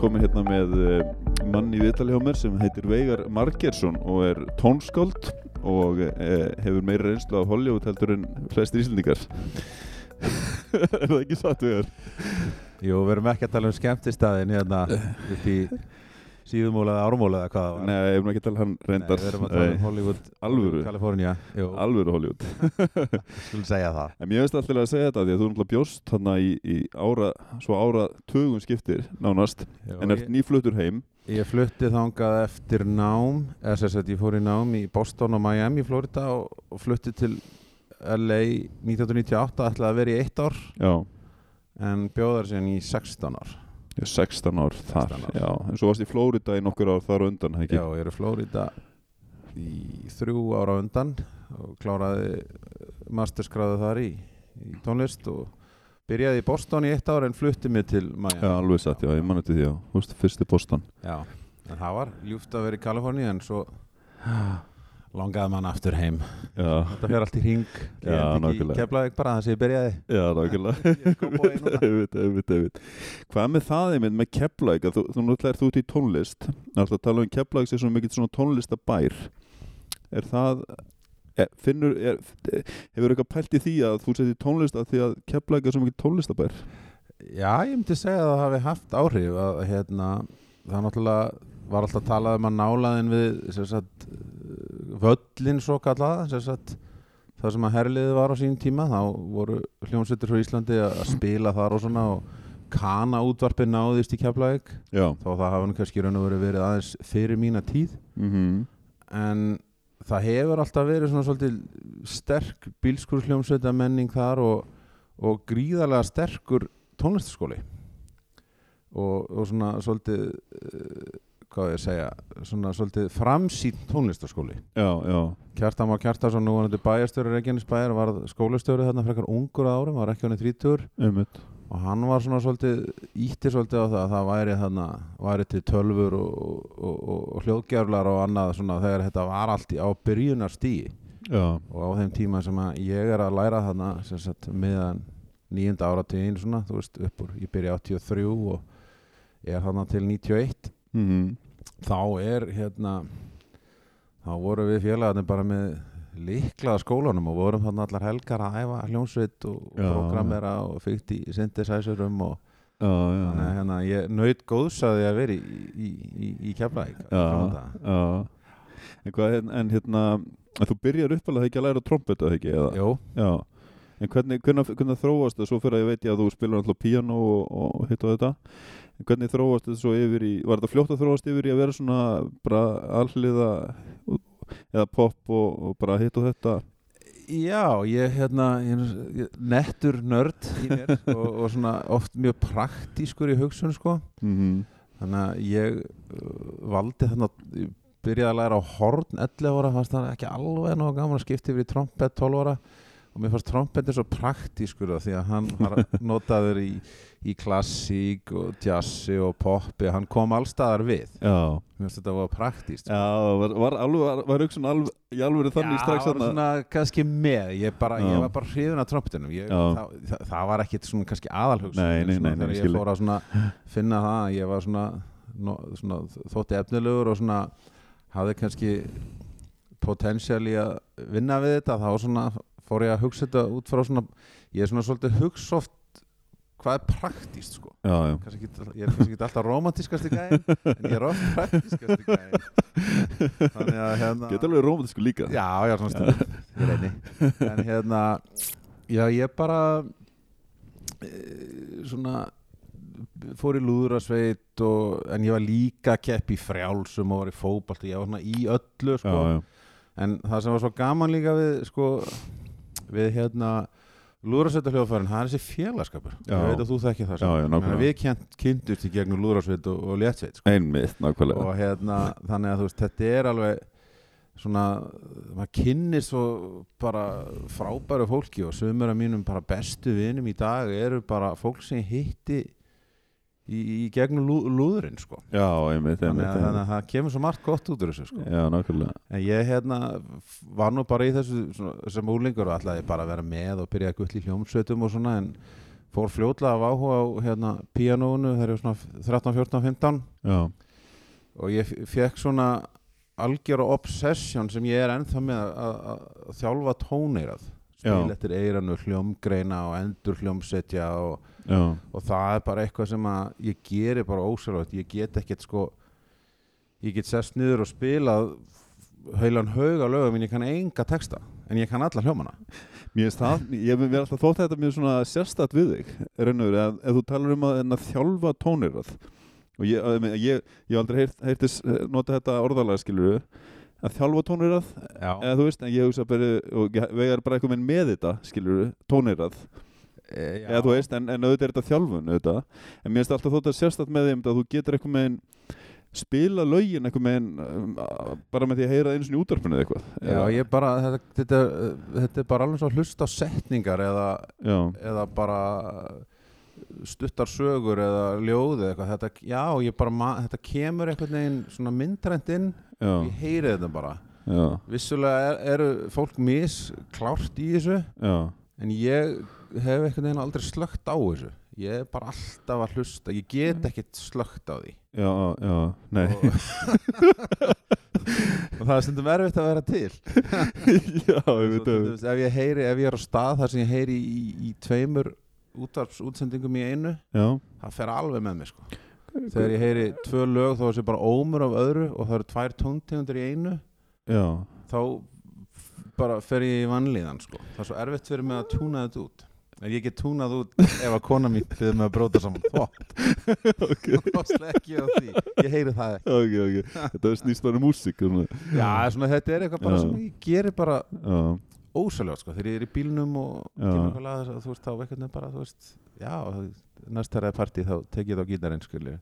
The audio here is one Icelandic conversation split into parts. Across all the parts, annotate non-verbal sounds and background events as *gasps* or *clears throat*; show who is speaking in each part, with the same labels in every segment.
Speaker 1: komið hérna með eh, mann í vitali hjá mér sem heitir Veigar Margersson og er tónskáld og eh, hefur meira reynslu af Hollywood heldur en flestir íslendingar *laughs* Er það ekki satt við þér?
Speaker 2: Jú, við erum ekki að tala um skemmtistæðin hérna upp í síðumóla eða árumóla eða hvað það var.
Speaker 1: Nei, ég erum ekki að tala hann reyndar
Speaker 2: Nei, við erum að tala um
Speaker 1: Nei,
Speaker 2: Hollywood, um
Speaker 1: Alvöru.
Speaker 2: Kalifornia. Jú,
Speaker 1: Alvöru Hollywood *laughs*
Speaker 2: skulum segja það.
Speaker 1: En mér veist alltaf að segja þetta því að þú náttúrulega bjóst hann í, í ára, svo ára tögum skiptir nánast
Speaker 2: Jú,
Speaker 1: en ert
Speaker 2: ég,
Speaker 1: nýfluttur heim
Speaker 2: ég flutti þangað eftir nám, eða sem sagt ég fór í nám í Boston og Miami í Florida og, og flutti til LA 1998, ætlaði að vera í eitt ár
Speaker 1: Já,
Speaker 2: en bjóðar síðan í 16 ár.
Speaker 1: ég er 16 ár þar
Speaker 2: 16 ár.
Speaker 1: Já, en svo varst í Flórida í nokkur ár þar á undan ekki?
Speaker 2: Já, ég er í Flórida í þrjú ára undan og kláraði masterskráðu þar í, í tónlist og byrjaði í Boston í eitt ár en flutti mig til Miami.
Speaker 1: Já, alveg satt, já, ég mann eftir því, já. Þú veist, fyrsti
Speaker 2: *gasps*
Speaker 1: bóstan.
Speaker 2: Já, en það var ljúft að vera í Kaliforni en svo langaði mann aftur heim
Speaker 1: Já,
Speaker 2: Þetta fer allt í ring
Speaker 1: Já, nákvæmlega.
Speaker 2: Keflaði bara þannig að ég byrjaði
Speaker 1: já, nákvæmlega.
Speaker 2: Ég er Kópavogi núna.
Speaker 1: *laughs* Einmitt, einmitt, einmitt. Hvað með það einmitt með Keflæk? Þú, þú náttúrulega ert þú út í tónlist. Náttúrulega að tala um Keflæk sem svona mikill svona tónlistabær. Er það, er, finnur, er, hefur eitthvað pælt í því að þú setjir tónlist af því að Keflæk er svona mikill tónlistabær?
Speaker 2: Já, ég myndi segja að það hafi haft áhrif að hérna, það náttúrulega var alltaf talað um að nálaðin við sem sagt, völlin svo kallað sem sagt, það sem að herliðið var á sínum tíma þá voru hljómsveitur frá Íslandi að að spila þar og svona og kana útvarpi náðist í Keflavík
Speaker 1: Já.
Speaker 2: þá það hafa nú kannski í raun og verið verið aðeins fyrir mína tíð
Speaker 1: Mm
Speaker 2: en það hefur alltaf verið svona svolítið sterk bílskursljómsveita menning þar og, og gríðarlega sterkur tónlistaskóli og, og svona svolítið uh, hvað á ég að segja svona svolítið framsýn tónlistaskóli
Speaker 1: Já, já.
Speaker 2: Kjartan Már Kjartason, nú var hann bæjarstjóri Reykjanesbæjar, var skólastjóri þarna frekar ungur að árum, var ekki hann í 30
Speaker 1: Einmitt.
Speaker 2: og hann var svona svolítið ítti svolítið á það að það væri þarna væri til tölfur og, og, og, og hljóðgjörlar og annað svona þegar þetta var allt í, á byrjunarstíi
Speaker 1: Já.
Speaker 2: og á þeim tíma sem að ég er að læra þarna sem sagt meðan nýjunda áratugin svona, þú veist, uppur ég byrja 83 og er þarna til 91
Speaker 1: Mm
Speaker 2: þá er hérna þá vorum við félagarnir bara með líklaða skólanum og vorum þarna allar helgar að æfa hljónsveit og, og
Speaker 1: Já.
Speaker 2: programmera og fyrkt í synthesizerum og
Speaker 1: Já, já.
Speaker 2: Þannig að hérna, ég naut góðs að ég að vera í, í, í, í Keflavík. á gamla
Speaker 1: Já,
Speaker 2: daga.
Speaker 1: já. En, hvað, en, en hérna, en þú byrjar uppalega ekki að læra trombett eða ekki? Eða?
Speaker 2: Jú,
Speaker 1: Já. En hvernig, hvernig, hvernig þróast það svo fyrir að ég veit ég að þú spilur alltaf píano og, og hitt og þetta? En hvernig þróast það svo yfir í, var þetta fljótt að þróast yfir í að vera svona bara alliða eða pop og, og bara hitt og þetta?
Speaker 2: já, ég hérna, ég, ég, nettur nörd í *laughs* mér og, og svona oft mjög praktískur í hugsun, sko.
Speaker 1: Mm -hmm.
Speaker 2: Þannig að ég uh, valdi þarna, ég byrjaði að læra á horn 11 ára, fannst það ekki alveg nóg gaman að skipta yfir í trompet 12 ára og mér fannst trompetin svo praktískur af því að hann var notaður í, í klassík og jazzi og poppi, hann kom allstaðar við.
Speaker 1: Já.
Speaker 2: Mér finnst þetta að vera praktíst.
Speaker 1: Já, var, var alveg, var, var hugsun alveg, í alveg þannig strax
Speaker 2: það var
Speaker 1: þarna?
Speaker 2: svona kannski með, ég, bara,
Speaker 1: Já.
Speaker 2: ég var bara hrifin af trompetinum, ég,
Speaker 1: Já.
Speaker 2: það, það, það var ekkit svona kannski aðalhugsun,
Speaker 1: Nei, nei, nei, nei,
Speaker 2: þegar
Speaker 1: ég
Speaker 2: ég
Speaker 1: skil.
Speaker 2: fór að svona finna það, að ég var svona, no, svona þótti efnilegur og svona hafði kannski potential í að vinna við þetta, þá svona fór ég að hugsa þetta út frá svona, ég er svona svolítið hugsoft hvað er praktíst sko
Speaker 1: Já, já.
Speaker 2: Kannski ekki, ég er kannski ekki alltaf romantískast í gæðin en ég er oft praktískast í gæðin
Speaker 1: *laughs*
Speaker 2: þannig að hérna
Speaker 1: Geta alveg rómatisku líka.
Speaker 2: Já, já, svona
Speaker 1: *laughs*
Speaker 2: stundum Ég reyni En hérna, já, ég bara e, svona fór í lúðurasveit og, en ég var líka að keppi í frjálsum og var í fótbalt ég var svona í öllu sko.
Speaker 1: já, já.
Speaker 2: en það sem var svo gaman líka við sko, við hérna lúðurasveita hljóðfærin, það er þessi félagskapur
Speaker 1: Já.
Speaker 2: ég veit að þú þekki það
Speaker 1: Já,
Speaker 2: sko.
Speaker 1: já,
Speaker 2: Ég meina,
Speaker 1: nákvæmlega.
Speaker 2: við kynnt, kynntust í gegnum lúðurasveit og, og léttsveit sko
Speaker 1: Einmitt, nákvæmlega.
Speaker 2: og hérna, þannig að þú veist, þetta er alveg svona, maður kynni svo bara frábæru fólki og sömur af mínum bara bestu vinum í dag eru bara fólk sem ég hitti í, í gegnum lú, lúðurinn, sko.
Speaker 1: Já, einmitt, einmitt.
Speaker 2: Þannig að, þannig
Speaker 1: einmitt.
Speaker 2: að það kemur svo margt gott út úr þessu, sko.
Speaker 1: Já, nákvæmlega.
Speaker 2: En ég hérna f- var nú bara í þessu svona, sem úlingur og ætlaði bara að vera með og byrja að gull í hljómsveitum og svona en fór fljótlega af áhuga á hérna, píanónu þegar ég var svona 13, 14, 15
Speaker 1: já,
Speaker 2: og ég fekk svona algjör obsession sem ég er ennþá með að- að að þjálfa tóneirað spil
Speaker 1: Já.
Speaker 2: eftir eiranu, hljómgreina og endur hljómsetja og,
Speaker 1: já,
Speaker 2: og það er bara eitthvað sem að ég geri bara ósjálfvægt, ég get ekkert sko ég get sest niður og spilað heilan haug á lögum en ég kann enga texta en ég kann alla hljómana
Speaker 1: Mér finnst það, ég hef alltaf þótt þetta mjög svona sérstætt við þig, reynur, að, ef þú talar um að, en að þjálfa tónirað og ég, að, ég, ég, ég hef aldrei heyrt, heyrtis nota þetta orðalega skilur að þjálfa tónirað,
Speaker 2: Já,
Speaker 1: eða þú veist, en ég hugsa bara, og ég- vegar bara eitthvað minn með þetta skilur tónirað,
Speaker 2: e,
Speaker 1: eða þú veist, en, en auðvitað er þetta þjálfun auðvitað, en mér finnst alltaf þótt að sérstætt með þeim að þú getur eitthvað með spila lögin eitthvað með bara með því að heyra það einu sinni í útarpinu eða eitthvað
Speaker 2: Já, ég bara, þetta, þetta, er- þetta er bara alveg svo að hlusta á setningar eða,
Speaker 1: já,
Speaker 2: eða bara eh, stuttar sögur eða ljóð eða eitthvað, þetta, já, ég bara, ma- þetta kemur einhvern veginn svona myndrænt inn
Speaker 1: já,
Speaker 2: og ég heyri þetta bara.
Speaker 1: já,
Speaker 2: Vissulega er, eru fólk misklárt í þessu,
Speaker 1: já.
Speaker 2: en ég hef einhvern veginn aldrei slögt á þessu. Ég er bara alltaf að hlusta, ég get ekkert slögt á því.
Speaker 1: Já, já, nei
Speaker 2: Og, *laughs* og það er stundum erfitt að vera til.
Speaker 1: *laughs* Já, ég
Speaker 2: Svo
Speaker 1: veit
Speaker 2: til
Speaker 1: að
Speaker 2: dæmis, ef ég heyri, ef ég er á stað þar sem ég heyri í, í tveimur útvarpsútsendingum í einu
Speaker 1: Já,
Speaker 2: það fer alveg með mér sko þegar ég heyri tvö lög þá er sér bara ómur af öðru og það eru tvær tóntegundir í einu *laughs*
Speaker 1: já, *laughs*
Speaker 2: þá f- bara fer ég í vannlíðan sko það er svo erfitt fyrir mig að túna þetta út en ég get túnað út ef að kona mín fyrir mig að bróta saman þvott þá slekk ég á því ég heyri það ekki
Speaker 1: *laughs* ok, ok Þetta er snýst bara um músík svona.
Speaker 2: já, svona, þetta er eitthvað bara
Speaker 1: Já.
Speaker 2: sem ég gerir bara
Speaker 1: Já,
Speaker 2: ósæljast sko, þegar ég er í bílnum og
Speaker 1: Já.
Speaker 2: kemur eitthvað lag, þú veist, þá eitthvað bara, þú veist, já, þú- næst þegar það er partí þá tek ég þá gítarinn, skilju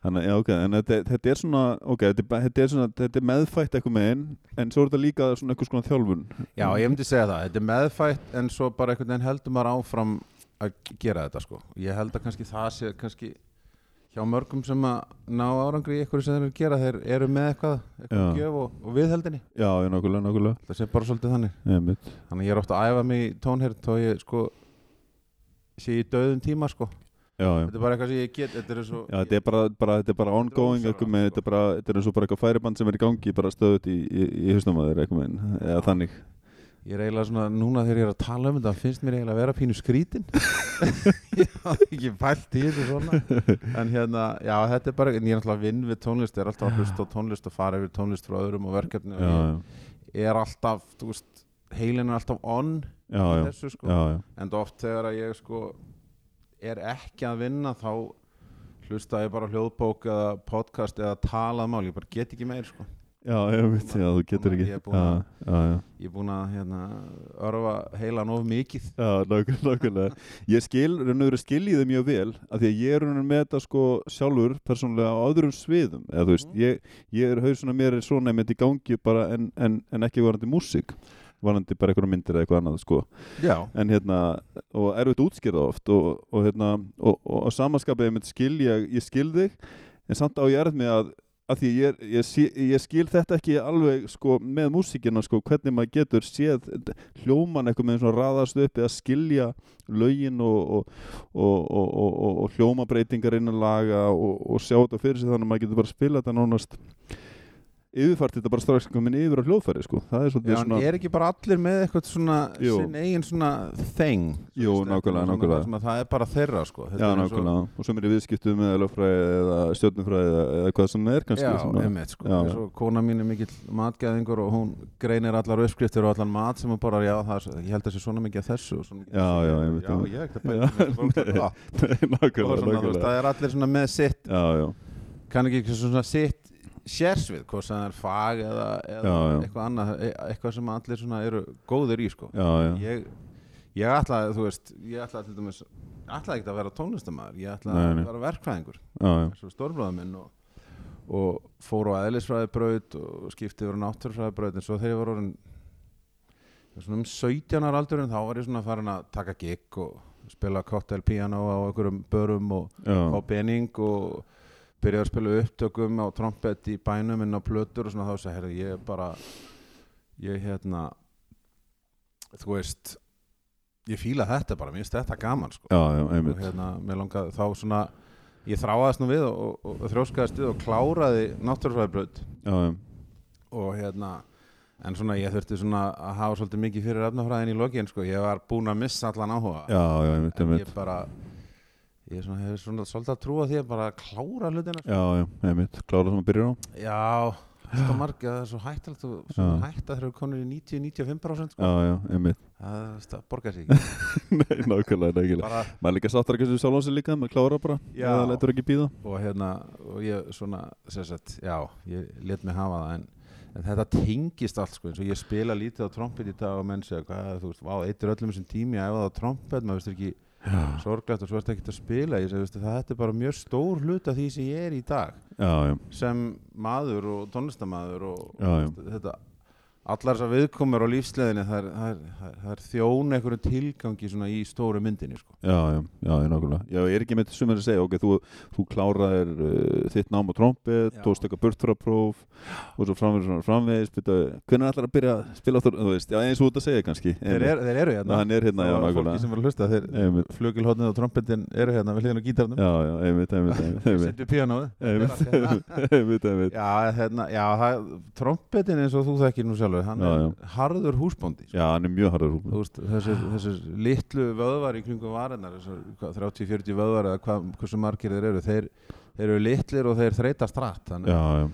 Speaker 1: þannig, að- já, ok En þetta, þetta er svona, ok, þetta er, bara- þetta er, svona, þetta er meðfætt eitthvað með einn En svo er þetta líka svona eitthvað svona þjálfun
Speaker 2: Já, ég myndi segja það, þetta er meðfætt en svo bara einhvern veginn heldur maður áfram að gera þetta, sko, ég held að kannski það sé kannski hjá mörgum sem að ná árangri í eitthvað sem þeir eru að gera þeir eru með eitthvað, eitthvað
Speaker 1: Já.
Speaker 2: gjöf og, og viðheldinni,
Speaker 1: Já, já, nákvæmlega, nákvæmlega
Speaker 2: það sé bara svolítið þannig
Speaker 1: Nei, mitt
Speaker 2: þannig að ég er ofta að æfa mig í tónherð þó ég, sko, sé í döðum tíma, sko,
Speaker 1: Já, já
Speaker 2: þetta er bara eitthvað sem ég get þetta er svo,
Speaker 1: Já, þetta er bara, bara, þetta er bara ongoing
Speaker 2: Þetta er sko.
Speaker 1: eitthvað með,
Speaker 2: ósjálfrátt,
Speaker 1: þetta er bara, þetta er eins og bara eitthvað færiband sem er í gangi bara stöðut í, í, í hausnum að þér eitthvað með, eða þannig
Speaker 2: Ég er eiginlega svona, núna þegar ég er að tala um þetta finnst mér eiginlega að vera
Speaker 1: *laughs*
Speaker 2: pínu skrítin Ég hafði ekki pælt í þessu svona En hérna, já þetta er bara En ég er alltaf að vinn við tónlist Ég er alltaf að hlusta á tónlist og fara yfir tónlist frá öðrum og verkefni
Speaker 1: Já, já,
Speaker 2: og Ég er alltaf, þú veist, heilin er alltaf on
Speaker 1: já,
Speaker 2: í
Speaker 1: já,
Speaker 2: þessu, sko.
Speaker 1: já, já.
Speaker 2: En það oft þegar að ég sko er ekki að vinna þá hlusta ég bara á hljóðbók eða podcast eða talað mál, ég bara get ekki meir sko.
Speaker 1: Já, ég veit, já, þú getur ekki Já,
Speaker 2: Ég er búinn að-
Speaker 1: já, já
Speaker 2: Ég er búin að hérna, örfa heilan of mikið
Speaker 1: Já, nákvæmlega, nákvæmlega. Ég skil, raun og veru skil ég þið mjög vel af því að ég er raun og veru með þetta sko sjálfur persónulega á öðrum sviðum eða þú
Speaker 2: Mhm.
Speaker 1: veist, ég, ég er hausuna mér er svona einmitt í gangi bara en, en, en ekki varandi músík, varandi bara einhverja myndir eða eitthvað annað sko,
Speaker 2: Já,
Speaker 1: en hérna og erfitt að útskýra það oft og, og hérna, og, og, og samanskapið einmitt skil ég, ég skil þig, en samt á ég erð með að að því ég, er- ég, sé, ég skil þetta ekki alveg sko með músíkina sko hvernig maður getur séð hljóman eitthvað með svona raðast upp eða skilja lögin og, og, og, og, og, og, og hljómabreitingar innan laga og, og sjá þetta fyrir sig þannig að maður getur bara að spila þetta nánast yfirfært þetta bara strax komin yfir á hljóðfæri sko það er svolítið
Speaker 2: Já, en
Speaker 1: svona
Speaker 2: er ekki bara allir með eitthvað svona
Speaker 1: Jú.
Speaker 2: sinn eigin svona þeng
Speaker 1: Jú, nákvæmlega, nákvæmlega.
Speaker 2: Það er bara þeirra sko Þetta
Speaker 1: Já,
Speaker 2: er eins og-
Speaker 1: nákvæmlega, og sem er í viðskiptum eða lögfræði eða stjórnufræði eða, eða hvað sem er kannski
Speaker 2: Já,
Speaker 1: svona.
Speaker 2: einmitt sko
Speaker 1: Já.
Speaker 2: já. Svo kona mín er mikill matgæðingur og hún greinir allar uppskriftir og allan mat sem hún borðar Já, það er, svo- ég held að sé svona mikið af þessu og svona mikið af
Speaker 1: Já,
Speaker 2: þessu.
Speaker 1: já, einmitt,
Speaker 2: Já,
Speaker 1: einmitt.
Speaker 2: ég
Speaker 1: *laughs* Já, nei. Nei,
Speaker 2: ekkert að bæta með þessu fólk. Já, og
Speaker 1: *laughs* nákvæmlega,
Speaker 2: svona, þú veist,
Speaker 1: nákvæmlega
Speaker 2: Það er allir svona með sitt
Speaker 1: Já, já,
Speaker 2: kann ekki svona sitt sérsvið hvort sem það er fag eða, eða
Speaker 1: Já, já.
Speaker 2: eitthvað annað e- eitthvað sem allir svona eru góðir í sko
Speaker 1: já, já
Speaker 2: ég, ég ætlaði, þú veist, ég ætlaði til dæmis, ætlaði ekki að vera tónlistamæður, ég ætlaði
Speaker 1: Nei, nei.
Speaker 2: að vera verkfræðingur,
Speaker 1: Já, já,
Speaker 2: eins og stórbróða minn og, og fór á eðlisfræðibraut og skipti yfir á náttúrufræðibraut, en svo þegar ég var orðin, ég var svona um 17 ára aldurinn, þá var ég svona farin að taka gig og spila cocktail piano á einhverjum börum og fá
Speaker 1: já,
Speaker 2: pening og byrjaði að spila upptökum á trompet í bænum inn á plötur og svona þá sagði, herri, ég er bara ég hérna þú veist ég fíla þetta bara, mér finnst þetta gaman sko.
Speaker 1: já, já,
Speaker 2: og
Speaker 1: einmitt
Speaker 2: hérna, mér langaði þá svona ég þráaðist nú við og, og, og þrjóskaðist við og kláraði náttúrufræðibraut
Speaker 1: já, já,
Speaker 2: hérna- og hérna en svona ég þurfti svona að hafa svolítið mikið fyrir efnafræðin í lokin sko, ég var búinn að missa allan áhuga
Speaker 1: já, já, einmitt,
Speaker 2: en
Speaker 1: einmitt
Speaker 2: ég bara ég svona, hefur svona svolítið að trúa því að bara klára hlutina sko.
Speaker 1: já, já, einmitt, klára sem að byrja á
Speaker 2: já, þetta margir það er svo hættilegt og svo
Speaker 1: Já.
Speaker 2: hætt að þeir eru konur í 90-95% sko.
Speaker 1: já, já, einmitt, *laughs*
Speaker 2: það, það borgar sig ekki
Speaker 1: nei, nákvæmlega, nákvæmlega
Speaker 2: bara,
Speaker 1: maður er líka sáttar ekki sem sjálf á sig líka, maður klára bara
Speaker 2: Já.
Speaker 1: eða letur ekki býða
Speaker 2: og hérna og ég svona, sem sagt, já ég let mig hafa það en, en þetta tengist allt sko, eins og ég spila lítið á trompet í dag og menn segja, hvað, þú veist, vá, eitir öllum þessum tími að æfa það á trompet, maður veist ekki
Speaker 1: já,
Speaker 2: sorglegt og svo ertu ekkert að spila ég segi, veistu, það þetta er bara mjög stór hlut af því sem ég er í dag
Speaker 1: já, já,
Speaker 2: sem maður og tónlistamaður og
Speaker 1: Já, já.
Speaker 2: þetta allar þessar viðkomur á lífsleðinni það er, það er, það er, það er þjón einhverjum tilgangi svona í stóru myndinni sko.
Speaker 1: já, já, já, já, nákvæmlega já, ég er ekki með þessum að segja, ok, þú, þú kláraðir uh, þitt nám og trompet
Speaker 2: Já.
Speaker 1: tókst eitthvað burtfrapróf og svo framvegis, svona framvegis byrja, hvernig ætlar að byrja að spila á þú, þú veist, já, eins og út að segja kannski
Speaker 2: þeir, er, þeir
Speaker 1: Na,
Speaker 2: eru hérna
Speaker 1: hann er hérna, já,
Speaker 2: Og fólki
Speaker 1: nákvæmlega
Speaker 2: sem er að hlusta þeir
Speaker 1: Einmitt.
Speaker 2: flugilhóðnið og trompetin eru hérna við hliðin á gítarnum
Speaker 1: já, já, einmitt, einmitt, einmitt, einmitt.
Speaker 2: sendu píanóið
Speaker 1: Einmitt, *laughs* einmitt, einmitt
Speaker 2: Já, hérna, já það, trompetin eins og þú þekkir nú sjálfur hann
Speaker 1: Já,
Speaker 2: er
Speaker 1: já.
Speaker 2: harður húsbóndi sko.
Speaker 1: Já, hann er mjög harður
Speaker 2: Þú
Speaker 1: húpin
Speaker 2: veist, þessir, þessir litlu vöðvar í kringum varinnar, þessir hvað, 30-40 vöðvar eða hvað, hversu margir þeir eru þeir, þeir eru litlir og þeir þreytast rætt þannig
Speaker 1: Já, já,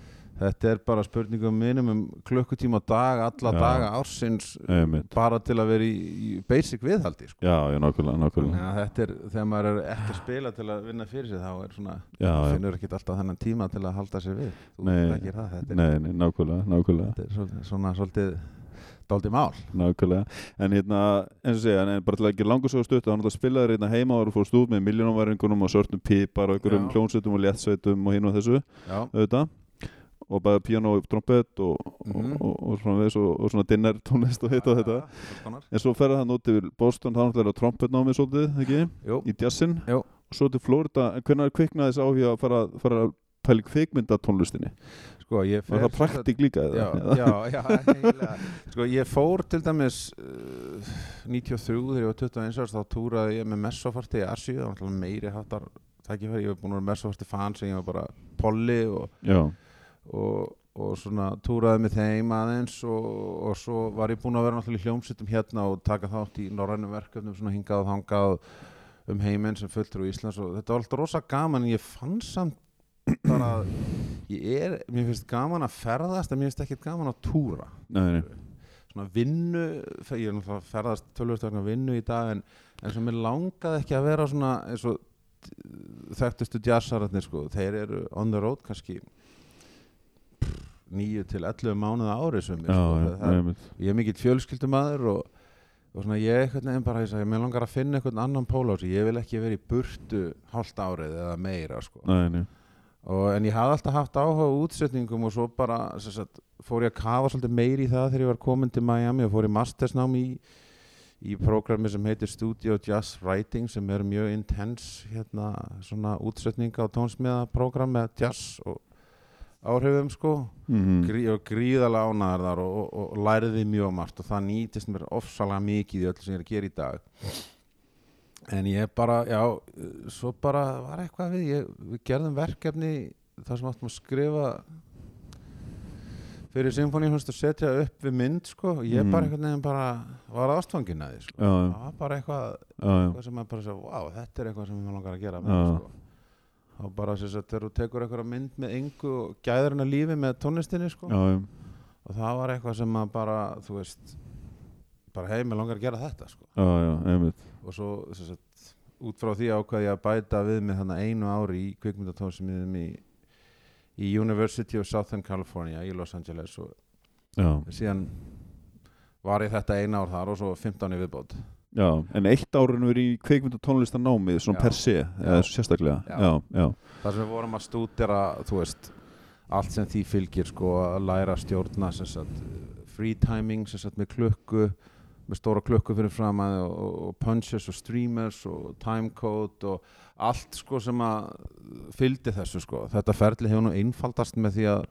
Speaker 2: þetta er bara spurningum mínum um klukkutíma á dag, alla
Speaker 1: Já.
Speaker 2: daga ársins
Speaker 1: einmitt
Speaker 2: bara til að vera í, í basic viðhaldi sko.
Speaker 1: Já, já, nákvæmlega, nákvæmlega
Speaker 2: þannig að þetta er, þegar maður er ekki að spila til að vinna fyrir sig þá er svona
Speaker 1: Já, já,
Speaker 2: finnur ekkert alltaf þennan tíma til að halda sér við þú
Speaker 1: Nei.
Speaker 2: þekkir það, þetta er,
Speaker 1: nei, nei, nákvæmlega, nákvæmlega
Speaker 2: þetta er svona, svona svolítið dálítið mál
Speaker 1: Nákvæmlega, en hérna eins og segja, en bara til að ekki langur svo stutt þannig að spilaður hérna heima og fórst út með miljónumværingunum og sörnum pipar og einhverjum
Speaker 2: Já.
Speaker 1: hljónsveitum og léttsveitum og hinn og þessu
Speaker 2: já,
Speaker 1: auðvitað og bæði piano og trompet og,
Speaker 2: Mhm.
Speaker 1: og, og, og, svona veis, og, og svona dinner tónlist og hitt eh? og þetta
Speaker 2: alls konar.
Speaker 1: en svo ferða hann út til Boston þá náttúrulega trompetnámið svolítið, ekki?
Speaker 2: Jú,
Speaker 1: í jazzin
Speaker 2: Jú.
Speaker 1: og svo til Florida, en hvernig kviknaði þess áhuga að fara, fara að pæli kvikmyndatónlistinni
Speaker 2: sko, ég
Speaker 1: var
Speaker 2: fer-
Speaker 1: það praktík líka eða?
Speaker 2: já, já, já eiginlega. sko, ég fór til dæmis uh, 93 þegar ég var 21 árs þá túraði ég með messofarti í Asju það var náttúrulega meiri hattar tækifæri ég var búin að vera messofarti fan sem ég var bara polli og,
Speaker 1: já,
Speaker 2: og, og svona túraði með þeim aðeins og, og svo var ég búin að vera náttúrulega í hljómsittum hérna og taka þátt í norrænum verkefnum svona hingað og þangað um heiminn sem fulltrú í Íslands og þetta var alltaf rosa gaman en ég fann samt bara að ég er, mér finnst gaman að ferðast en mér finnst ekkert gaman að túra
Speaker 1: nei, nei,
Speaker 2: svona vinnu, fe- ég er náttúrulega að ferðast tölvöld vegna vinnu í dag en, en sem mér langaði ekki að vera svona eins og t- þekktustu jazzararnir sko, þeir eru on the road kannski nýju til 11 mánuða ári sem
Speaker 1: já,
Speaker 2: mér sko,
Speaker 1: já,
Speaker 2: það-
Speaker 1: nei, einmitt.
Speaker 2: ég er mikill fjölskyldumæður og, og svona ég einhvern veginn bara ég sagði, mér langar að finna einhvern annan pól á þessu ég vil ekki vera í burtu hálft árið eða meira sko
Speaker 1: nei, nei,
Speaker 2: og, en ég hafði alltaf haft áhuga á útsetningum og svo bara sem sagt, fór ég að kafa svolítið meiri í það þegar ég var komin til Miami og fór í mastersnám í, í prógrami sem heitir Studio Jazz Writing sem er mjög intense hérna, svona útsetninga og tónsmiðaprógram með jazz og áhrifum sko
Speaker 1: Mhm.
Speaker 2: Grí, og gríðalega ánæðar þar og, og, og læriði mjög margt og það nýtist mér ofsalega mikið í öllu sem ég er að gera í dag en ég bara, já eh, svo bara var eitthvað við ég, við gerðum verkefni þar sem áttum að skrifa fyrir symfóníunst og setja upp við mynd sko, og ég
Speaker 1: Mhm.
Speaker 2: bara einhvern veginn bara var aðstfangin að því sko.
Speaker 1: já, já,
Speaker 2: það var bara eitthvað,
Speaker 1: já, já,
Speaker 2: eitthvað sem maður bara sagði, wow, þetta er eitthvað sem maður langar að gera með,
Speaker 1: Já.
Speaker 2: sko. þá bara sem sagt, þegar þú tekur eitthvað mynd með yngu og gæður hennar lífi með tónlistinni sko.
Speaker 1: já, já.
Speaker 2: og það var eitthvað sem maður bara, þú veist bara hei, mér langar að gera þetta sko.
Speaker 1: Já, já, einmitt
Speaker 2: og svo sem sagt, út frá því ákvað ég að bæta við mig þannig einu ári í kvikmyndatónsmiðum í, í University of Southern California í Los Angeles og
Speaker 1: Já,
Speaker 2: síðan var ég þetta einu ár þar og svo 15 í viðbót
Speaker 1: já, en eitt árun er í kveikmynd og tónlistanámið svona
Speaker 2: Já.
Speaker 1: per se, eða sérstaklega
Speaker 2: Já.
Speaker 1: Já, já,
Speaker 2: þar sem við vorum að stúdera þú veist, allt sem því fylgir sko, að læra að stjórna sem sagt, free timing sem sagt, með klukku með stóra klukku fyrir fram að og, og punches og streamers og timecode og allt sko sem að fylgdi þessu sko þetta ferli hefur nú einfaldast með því að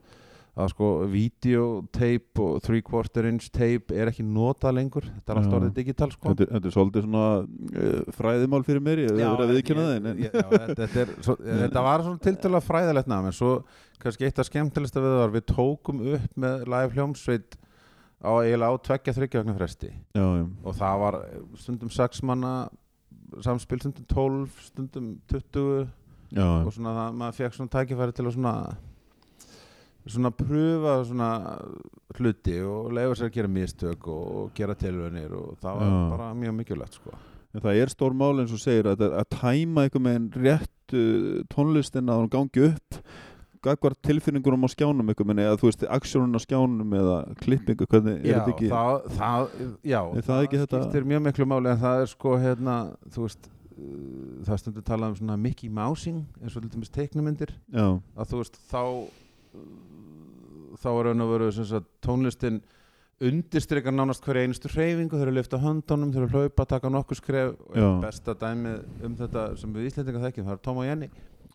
Speaker 2: að sko videotape og three quarter inch tape er ekki notað lengur þetta er allt
Speaker 1: Já.
Speaker 2: orðið digital sko
Speaker 1: Þetta, er- þetta er svolítið svona uh, fræðimál fyrir mér, ég hefur að viðkynna það en- en-
Speaker 2: ég- já, þetta, þetta, er, svo, þetta var svona tiltölulega fræðilegt nám en svo kannski eitt af skemmtilegsta við var við tókum upp með live hljómsveit á eiginlega á tveggja þryggja vegna fresti
Speaker 1: Já, já,
Speaker 2: og það var stundum sex manna samspil stundum 12 stundum 20
Speaker 1: já, já.
Speaker 2: og svona það, maður fekk svona tækifæri til að svona svona pröfa svona hluti og leifa sér að gera mistök og, og gera tilvönir og það var
Speaker 1: Já.
Speaker 2: bara mjög mikilvægt sko
Speaker 1: En það er stór mál eins og segir að, að tæma einhver meginn rétt uh, tónlistin að hún gangi upp gagvar tilfinningunum á skjánum einhver meginn eða þú veist, aksjónun á skjánum eða klippingu, hvernig er
Speaker 2: já,
Speaker 1: þetta ekki
Speaker 2: það, það, já,
Speaker 1: Er það ekki þetta-
Speaker 2: skiptir mjög miklu máli en það er sko hérna, þú veist uh, það er stundur talað um svona Mickey Mousing eins og lítið mis teiknumyndir
Speaker 1: Já,
Speaker 2: að þú veist þá uh, þá er raun og veru sem sagt, tónlistin undirstrykar nánast hverja einustu hreyfingu þeir eru lyfta höndunum, þeir eru hlaupa, taka nokkuð skref og
Speaker 1: Já.
Speaker 2: besta dæmið um þetta sem við Íslendinga þekkjum, það er Tom og Jenny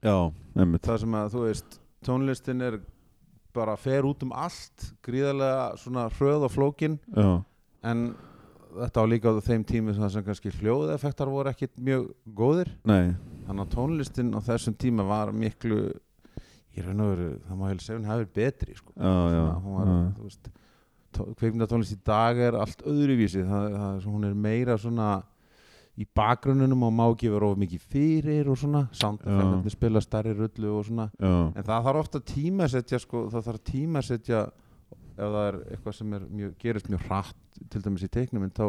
Speaker 1: já, einmitt
Speaker 2: það sem að þú veist, tónlistin er bara fer út um allt gríðarlega svona hröð og flókin
Speaker 1: Já,
Speaker 2: en þetta á líka á þeim tími þar sem kannski hljóðeffektar voru ekkit mjög góðir
Speaker 1: nei,
Speaker 2: þannig að tónlistin á þessum tíma var miklu ég raun og veru, það má heil segja hún hafi verið betri sko.
Speaker 1: já, já,
Speaker 2: Svona, hún var,
Speaker 1: já.
Speaker 2: þú veist kveikmyndatónlist í dag er allt öðruvísi það, það, það, hún er meira svona í bakgrunnunum og má ekki vera of mikið fyrir og svona soundeffektarnir spila starri rullu og svona
Speaker 1: já,
Speaker 2: en það þarf ofta tímasetja sko, það þarf tímasetja ef það er eitthvað sem er mjög, gerist mjög hratt til dæmis í teiknum þá,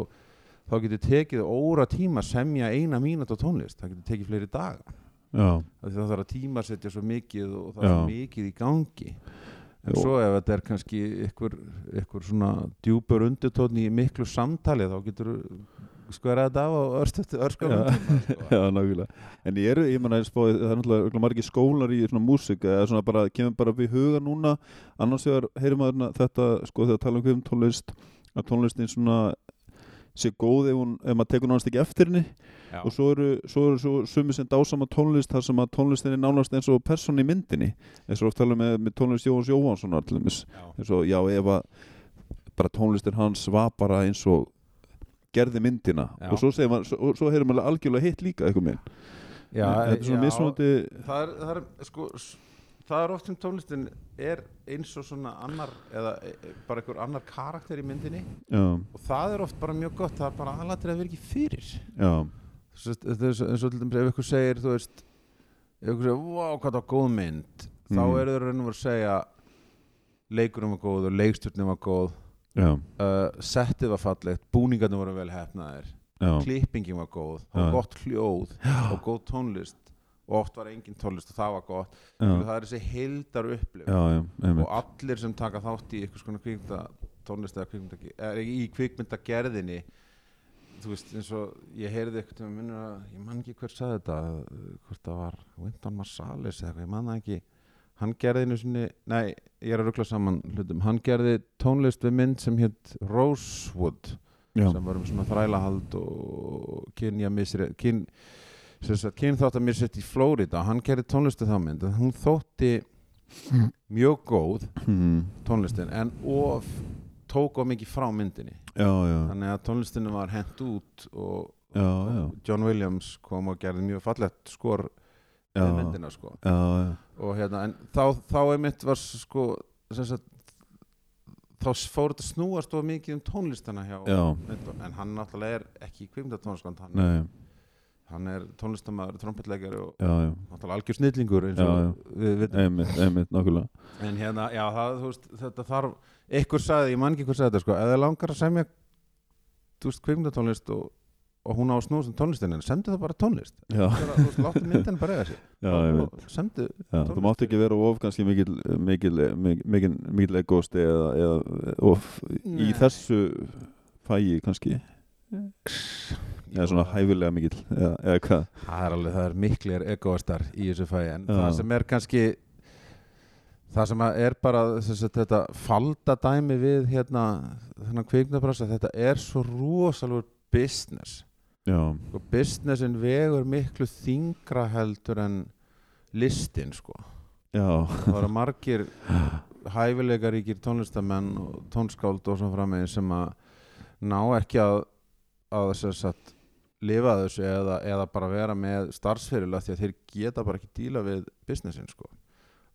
Speaker 2: þá getur tekið óra tíma að semja eina mínútu á tónlist það getur tekið fleiri daga
Speaker 1: já,
Speaker 2: Af því það þarf að tímasetja svo mikið og það er
Speaker 1: Já.
Speaker 2: svo mikið í gangi en
Speaker 1: Jó.
Speaker 2: svo ef þetta er kannski ykkur, ykkur svona djúpur undirtótni í miklu samtali þá getur skverað þetta af og örstuð
Speaker 1: Já.
Speaker 2: örsköðum tíma sko.
Speaker 1: já, nákvæmlega En ég er, ég menna, spáði, það er náttúrulega örugglega margir skólar í svona músík eða svona bara, kemur bara við huga núna annars vegar heyrir maður na- þetta sko þegar tala um hverjum tónlist að tónlistin svona sé góð ef, hún, ef maður tekur náttúrulega ekki eftir henni
Speaker 2: Já.
Speaker 1: *laughs* og svo eru, svo eru svo sumi sem dásama tónlist þar sem að tónlistin er nánast eins og person í myndinni eins og oft tala um með, með tónlist Jóhans Jóhansson allumis eins og já ef að bara tónlistin hans var bara eins og gerði myndina
Speaker 2: Já.
Speaker 1: og svo, segir maður, svo, og svo heyrir maður algjörlega hitt líka eitthvað minn
Speaker 2: Já,
Speaker 1: þetta er svona mismunandi
Speaker 2: það er, það er sko s- það er oft sem tónlistin er eins og svona annar eða e, e, bara einhver annar karakter í myndinni
Speaker 1: já,
Speaker 2: og það er oft bara mjög gott það er bara aðlatir að vera ekki fyrir
Speaker 1: já,
Speaker 2: Svo- þetta er svo- eins og til dæmis ef ykkur segir þú veist ef ykkur segir, wow, hvað það var góð mynd þá
Speaker 1: Mhm.
Speaker 2: eru þau raun og veru að segja leikurinn var góð og leikstjórnin var góð
Speaker 1: já,
Speaker 2: uh, settið var fallegt, búningarnir voru vel hefnaðir
Speaker 1: já,
Speaker 2: klippingin var góð, það var
Speaker 1: Já.
Speaker 2: gott hljóð og góð tónlist og oft var engin tónlist og það var gott
Speaker 1: já,
Speaker 2: það er þessi heildar upplif
Speaker 1: já, já, einmitt.
Speaker 2: og allir sem taka þátt í einhvers konar kvikmynda tónlist eða kvikmynda, eða í kvikmyndagerðinni þú veist eins og ég heyrði eitthvað með minnur að ég man ekki hver sagði þetta eh, hvort það var Wynton Marsalis eða eitthvað, ég man það ekki hann gerði einu sinni, nei ég er að ruggla saman hlutum, hann gerði tónlist við mynd sem hétt Rosewood
Speaker 1: já,
Speaker 2: sem var um svona þrælahald og kynja misri kyn, kynþátt að mér sett í Flórida hann gerði tónlistu þá mynd en hún þótti
Speaker 1: Mm.
Speaker 2: mjög góð
Speaker 1: Hmm,
Speaker 2: tónlistin en of tók of mikið frá myndinni
Speaker 1: já, já,
Speaker 2: þannig að tónlistinu var hent út og
Speaker 1: já, já,
Speaker 2: John Williams kom og gerði mjög fallegt skor
Speaker 1: já,
Speaker 2: við myndina sko
Speaker 1: já, já,
Speaker 2: og hérna, en þá, þá einmitt var sko sem sagt, þá fór þetta að snúast of mikið um tónlistina hjá
Speaker 1: já,
Speaker 2: Myndun, en hann náttúrulega er ekki kvikmyndatónliskand hann,
Speaker 1: nei,
Speaker 2: hann er tónlistamæður, trompetleikari og
Speaker 1: já, já,
Speaker 2: náttúrulega algjör snillingur eins og
Speaker 1: Já, já.
Speaker 2: við vitum
Speaker 1: einmitt, einmitt, nákvæmlega,
Speaker 2: en hérna, já, það, þú veist, þetta þarf ykkur sagði, ég man ekki hver sagði þetta sko ef þið langar að semja þú veist, kvikmyndatónlist og, og hún á að snúast um tónlistin en semdu það bara tónlist
Speaker 1: já,
Speaker 2: Bara, þú veist, láttu
Speaker 1: *laughs*
Speaker 2: myndin bara eiga sig
Speaker 1: já, einmitt.
Speaker 2: og semdu,
Speaker 1: Já, þú mátt ekki vera of kannski mikil, mikil, mikil, mikil, mikil egosti eða, eða of í
Speaker 2: Nei.
Speaker 1: þessu fæi kannski, eða svona hæfilega mikil, eða, eða hvað,
Speaker 2: Það er alveg, það er miklir egoistar í þessu fæi en
Speaker 1: Já.
Speaker 2: það sem er kannski það sem að er bara þess að þetta falda dæmi við hérna þennan kviknabrasa, þetta er svo rosalur business
Speaker 1: já,
Speaker 2: og businessin vegur miklu þingra heldur en listin sko
Speaker 1: já,
Speaker 2: það eru margir hæfileikaríkir tónlistamenn og tónskáld og svona framvegis sem að ná ekki að, að sem sagt, lifa af þessu eða, eða bara vera með starfsfyrirlega því að þeir geta bara ekki díla við businessin sko.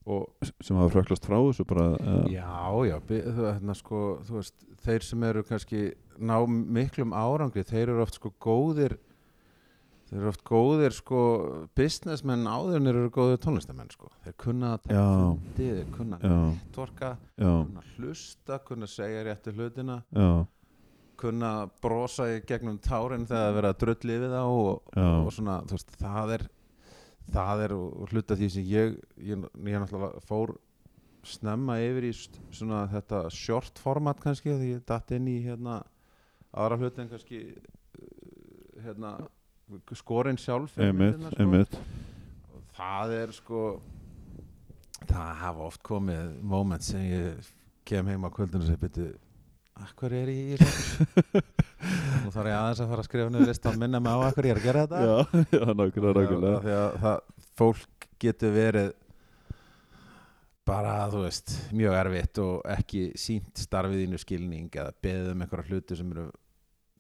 Speaker 2: og
Speaker 1: sem hafa fröklast frá þessu bara uh,
Speaker 2: Já, já, bi- þú- hérna sko, þú veist, þeir sem eru kannski ná miklum árangri, þeir eru oft sko góðir, þeir eru oft góðir sko businessmenn áður en þeir eru góðir tónlistamenn sko. Þeir kunna að taka
Speaker 1: Já.
Speaker 2: fundi, þeir kunna að
Speaker 1: já,
Speaker 2: netvorka,
Speaker 1: já,
Speaker 2: kunna að hlusta, kunna að segja réttu hlutina,
Speaker 1: já,
Speaker 2: kunna að brosa í gegnum tárin þegar það er verið að drulli við þá og,
Speaker 1: Já.
Speaker 2: og svona, þú veist, það er það er og og hluta því sem ég ég, ég náttúrulega fór snemma yfir í st- svona þetta short format kannski því ég datt inn í hérna aðra hluti en kannski uh, hérna skorinn sjálf fyrir sko.
Speaker 1: einmitt,
Speaker 2: myndirnar,
Speaker 1: einmitt
Speaker 2: Og það er sko það hafa oft komið moment sem ég kem heim á kvöldinu og segi byrju, að hverju er ég í
Speaker 1: *laughs*
Speaker 2: þessu nú þarf ég aðeins að fara að skrifa niður list og minna mig á að hverju ég er að gera þetta
Speaker 1: Já, *laughs* já, nákvæmlega,
Speaker 2: Já,
Speaker 1: nákvæmlega
Speaker 2: því að það, fólk getur verið bara, þú veist, mjög erfitt og ekki sínt starfið þínu skilning eða beðið um einhverja hluti sem eru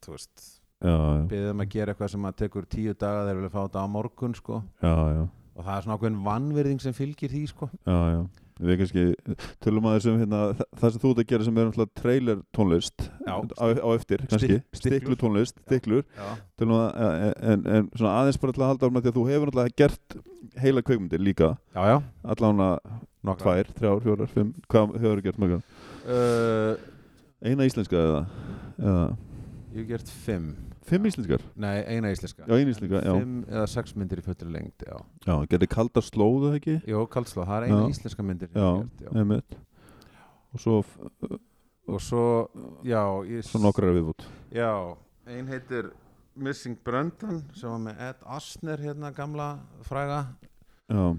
Speaker 2: þú veist,
Speaker 1: Já, já,
Speaker 2: beðið um að gera eitthvað sem að tekur tíu daga þegar vilja fá þetta á morgun sko
Speaker 1: já, já
Speaker 2: og það er svona ákveðin vannverðing sem fylgir því sko
Speaker 1: Já, já, við kannski tölum að þessum hérna, þa- það sem þú ert að gera sem er náttúrulega trailer tónlist
Speaker 2: Já.
Speaker 1: á, á eftir, kannski,
Speaker 2: Stik- stiklur.
Speaker 1: stiklu tónlist stiklur,
Speaker 2: já,
Speaker 1: tölum að en, en, en svona aðeins bara til að halda áfram af því að þú hefur náttúrulega gert heila kveikmyndir líka
Speaker 2: já, já
Speaker 1: allan að
Speaker 2: nokkra
Speaker 1: tvær, þrjár, fjórar, fimm hvað hefur gert mörgum?
Speaker 2: uh,
Speaker 1: Eina íslenska eða, eða
Speaker 2: ég hef gert fimm
Speaker 1: fimm
Speaker 2: Já.
Speaker 1: íslenskar?
Speaker 2: nei, eina íslenska
Speaker 1: Já, eina íslenska, já.
Speaker 2: fimm eða sex myndir í fötur lengd já,
Speaker 1: Já, gerði kalda slóðu ekki?
Speaker 2: Jó, Karlsló, það er eina
Speaker 1: Já.
Speaker 2: íslenska myndir sem
Speaker 1: Já,
Speaker 2: ég hef gert, já.
Speaker 1: einmitt og svo, f-
Speaker 2: og svo, já ég,
Speaker 1: svo nokkrar viðbútt
Speaker 2: já, ein heitir Missing Brandon sem var með Ed Asner hérna gamla fræga
Speaker 1: Já,
Speaker 2: uh,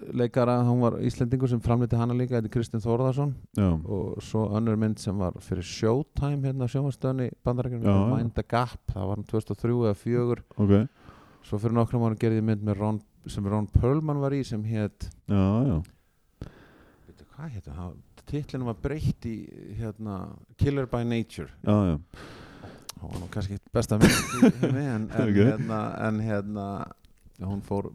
Speaker 1: Eh,
Speaker 2: leikara, hún var íslendingur sem framliti hana líka, þetta er Kristinn Þórðarsson
Speaker 1: já,
Speaker 2: og svo önnur mynd sem var fyrir Showtime hérna á sjónvastöðinni
Speaker 1: Já,
Speaker 2: bandarækjum
Speaker 1: já.
Speaker 2: Mind the Gap, það var hann 2003 eða 2004
Speaker 1: ok
Speaker 2: svo fyrir nokkrum árum gerði ég mynd með Ron, sem Ron Perlman var í sem hétt
Speaker 1: Já, já,
Speaker 2: veitu hvað hétt hann, titlinn var breytt í hérna, Killer by Nature
Speaker 1: já, já
Speaker 2: hún var nú kannski ekkert besta
Speaker 1: *laughs*
Speaker 2: mynd í heimi en, en,
Speaker 1: Ok.
Speaker 2: hérna, en hérna hún fór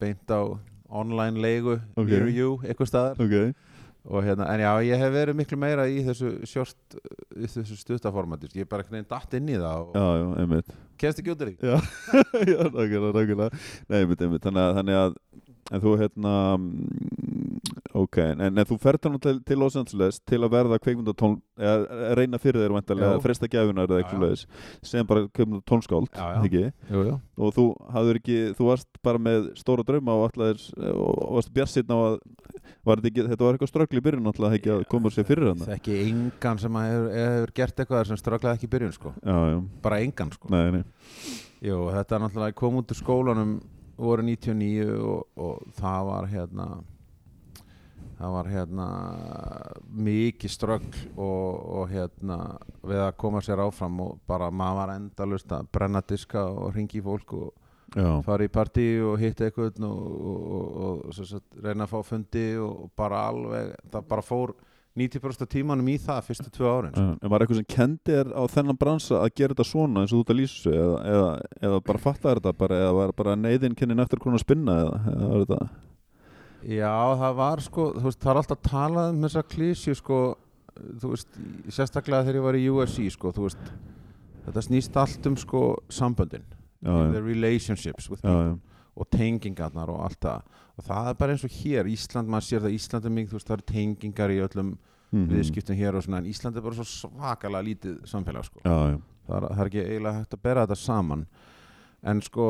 Speaker 2: beint á online leigu,
Speaker 1: Ok.
Speaker 2: okay. you, eitthvað staðar
Speaker 1: Ok,
Speaker 2: og hérna, en já, ég hef verið miklu meira í þessu short, í þessu stuttaformati ég er bara einhvern veginn datt inn í það og
Speaker 1: já, já, einmitt
Speaker 2: kemst ekki út úr því
Speaker 1: Já, *laughs* já, nákvæmlega, nákvæmlega Nei, einmitt, einmitt, þannig að, þannig að en þú hérna mm, ok, en, en þú ferð hann til, til Los Angeles til að verða kveikmyndatón eða að reyna fyrir þér væntanlega
Speaker 2: Jú.
Speaker 1: að fresta gæfunar eða
Speaker 2: Já,
Speaker 1: eitthvað
Speaker 2: já.
Speaker 1: leðis sem bara kveikmyndatónskáld,
Speaker 2: Já, já.
Speaker 1: ekki?
Speaker 2: jú, jú.
Speaker 1: og þú hafður ekki, þú varst bara með stóra drauma og allar og og varst bjarsinn á að var þetta, ekki, þetta var eitthvað ströggli í byrjun alltaf ekki að koma sér fyrir hann
Speaker 2: það er ekki engan sem að hefur, hefur gert eitthvað sem strögglaði ekki í byrjun sko,
Speaker 1: Já, já,
Speaker 2: bara engan sko
Speaker 1: nei, nei
Speaker 2: jú, þetta er náttúrulega kom út úr skólanum voru 99 og, og það var hérna það var hérna mikið ströggl og, og hérna við að koma sér áfram og bara maður var endalust að brenna diska og ringi í fólk og
Speaker 1: Já,
Speaker 2: fara í partí og hitta eitthvað og, og, og, og sem sagt, reyna að fá fundi og bara alveg það bara fór 90% af tímanum í það fyrstu tvö árin sko.
Speaker 1: Já, en var eitthvað sem kendi þér á þennan bransa að gera þetta svona eins og þú ert að lýsa þessu eða, eða, eða bara fattaði þetta bara eða var bara neyðin kynnin eftir hvernig að spinna eða, eða var þetta
Speaker 2: já það var sko þú veist, það er alltaf talað um þessa klísju sko þú veist í- sérstaklega þegar ég var í USC sko þú veist þetta snýst allt um sko samböndin
Speaker 1: Já,
Speaker 2: the relationships with
Speaker 1: já, já,
Speaker 2: people og tengingarnar og allt það og það er bara eins og hér Ísland maður sér það Ísland er mikið þú veist það eru tengingar í öllum
Speaker 1: Mhm.
Speaker 2: viðskiptum hér og svona en Ísland er bara svo svakalega lítið samfélag sko.
Speaker 1: já, já,
Speaker 2: það, er, það er ekki eiginlega hægt að bera þetta saman en sko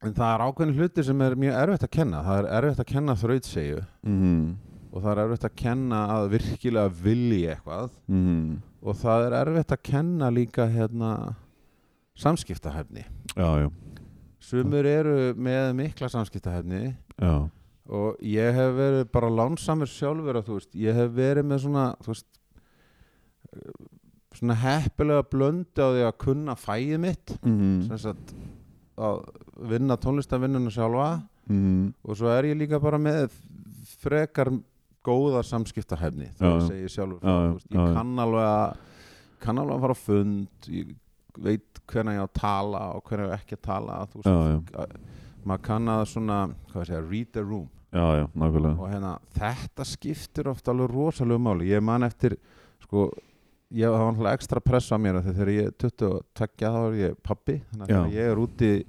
Speaker 2: en það er ákveðin hluti sem er mjög erfitt að kenna það er erfitt að kenna þrautsegju
Speaker 1: Mhm.
Speaker 2: og það er erfitt að kenna að virkilega vilji eitthvað
Speaker 1: Mhm.
Speaker 2: og það er erfitt að kenna líka hérna samskiptahæfni
Speaker 1: já, já,
Speaker 2: sumur eru með mikla samskiptahæfni
Speaker 1: já,
Speaker 2: og ég hef verið bara lánsamur sjálfur að þú veist, ég hef verið með svona þú veist eh, svona heppilega blöndu á því að kunna fæið mitt
Speaker 1: Mhm.
Speaker 2: sem sagt að vinna tónlistavinnuna sjálfa
Speaker 1: Mhm.
Speaker 2: og svo er ég líka bara með frekar góða samskiptahefni
Speaker 1: Já, já.
Speaker 2: þegar ég segi
Speaker 1: Já, já,
Speaker 2: sjálfur frá, þú veist,
Speaker 1: já, já.
Speaker 2: ég kann alveg að kann alveg að fara á fund ég veit hvernig ég á að tala og hvernig ég á ekki að tala þú veist,
Speaker 1: Já,
Speaker 2: að- maður kann að svona hvað segja, read the room
Speaker 1: já, já, nákvæmlega
Speaker 2: og hérna, þetta skiptir ofta alveg rosalega máli ég man eftir sko, ég það var náttúrulega ekstra press á mér af því þegar ég er 22 þá er ég pappi þannig að
Speaker 1: Já.
Speaker 2: þegar ég er úti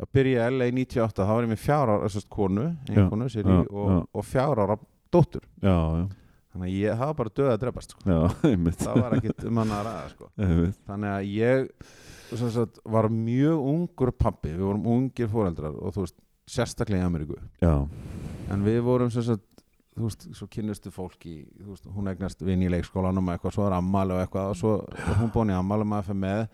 Speaker 2: að byrja í LA 98 þá var ég með fjár ára sérst, konu,
Speaker 1: Já,
Speaker 2: ein konu sér í
Speaker 1: já,
Speaker 2: og,
Speaker 1: já.
Speaker 2: og fjár ára dóttur
Speaker 1: Já, já,
Speaker 2: þannig að ég það var bara döð að drefast sko.
Speaker 1: já, *laughs* einmitt
Speaker 2: það var ekkit um hann að ræða sko.
Speaker 1: Einmitt,
Speaker 2: þannig að ég sem sagt, var mjög ungur pappi við vorum ungir fóreldrar og þú veist sérstaklega í Ameríku
Speaker 1: já,
Speaker 2: En við vorum sem sagt þú veist, svo kynnustu fólki þú veist, hún egnast vinn í leikskólanum og eitthvað, svo er ammali og eitthvað og svo er hún búin í ammali og maður fyrir með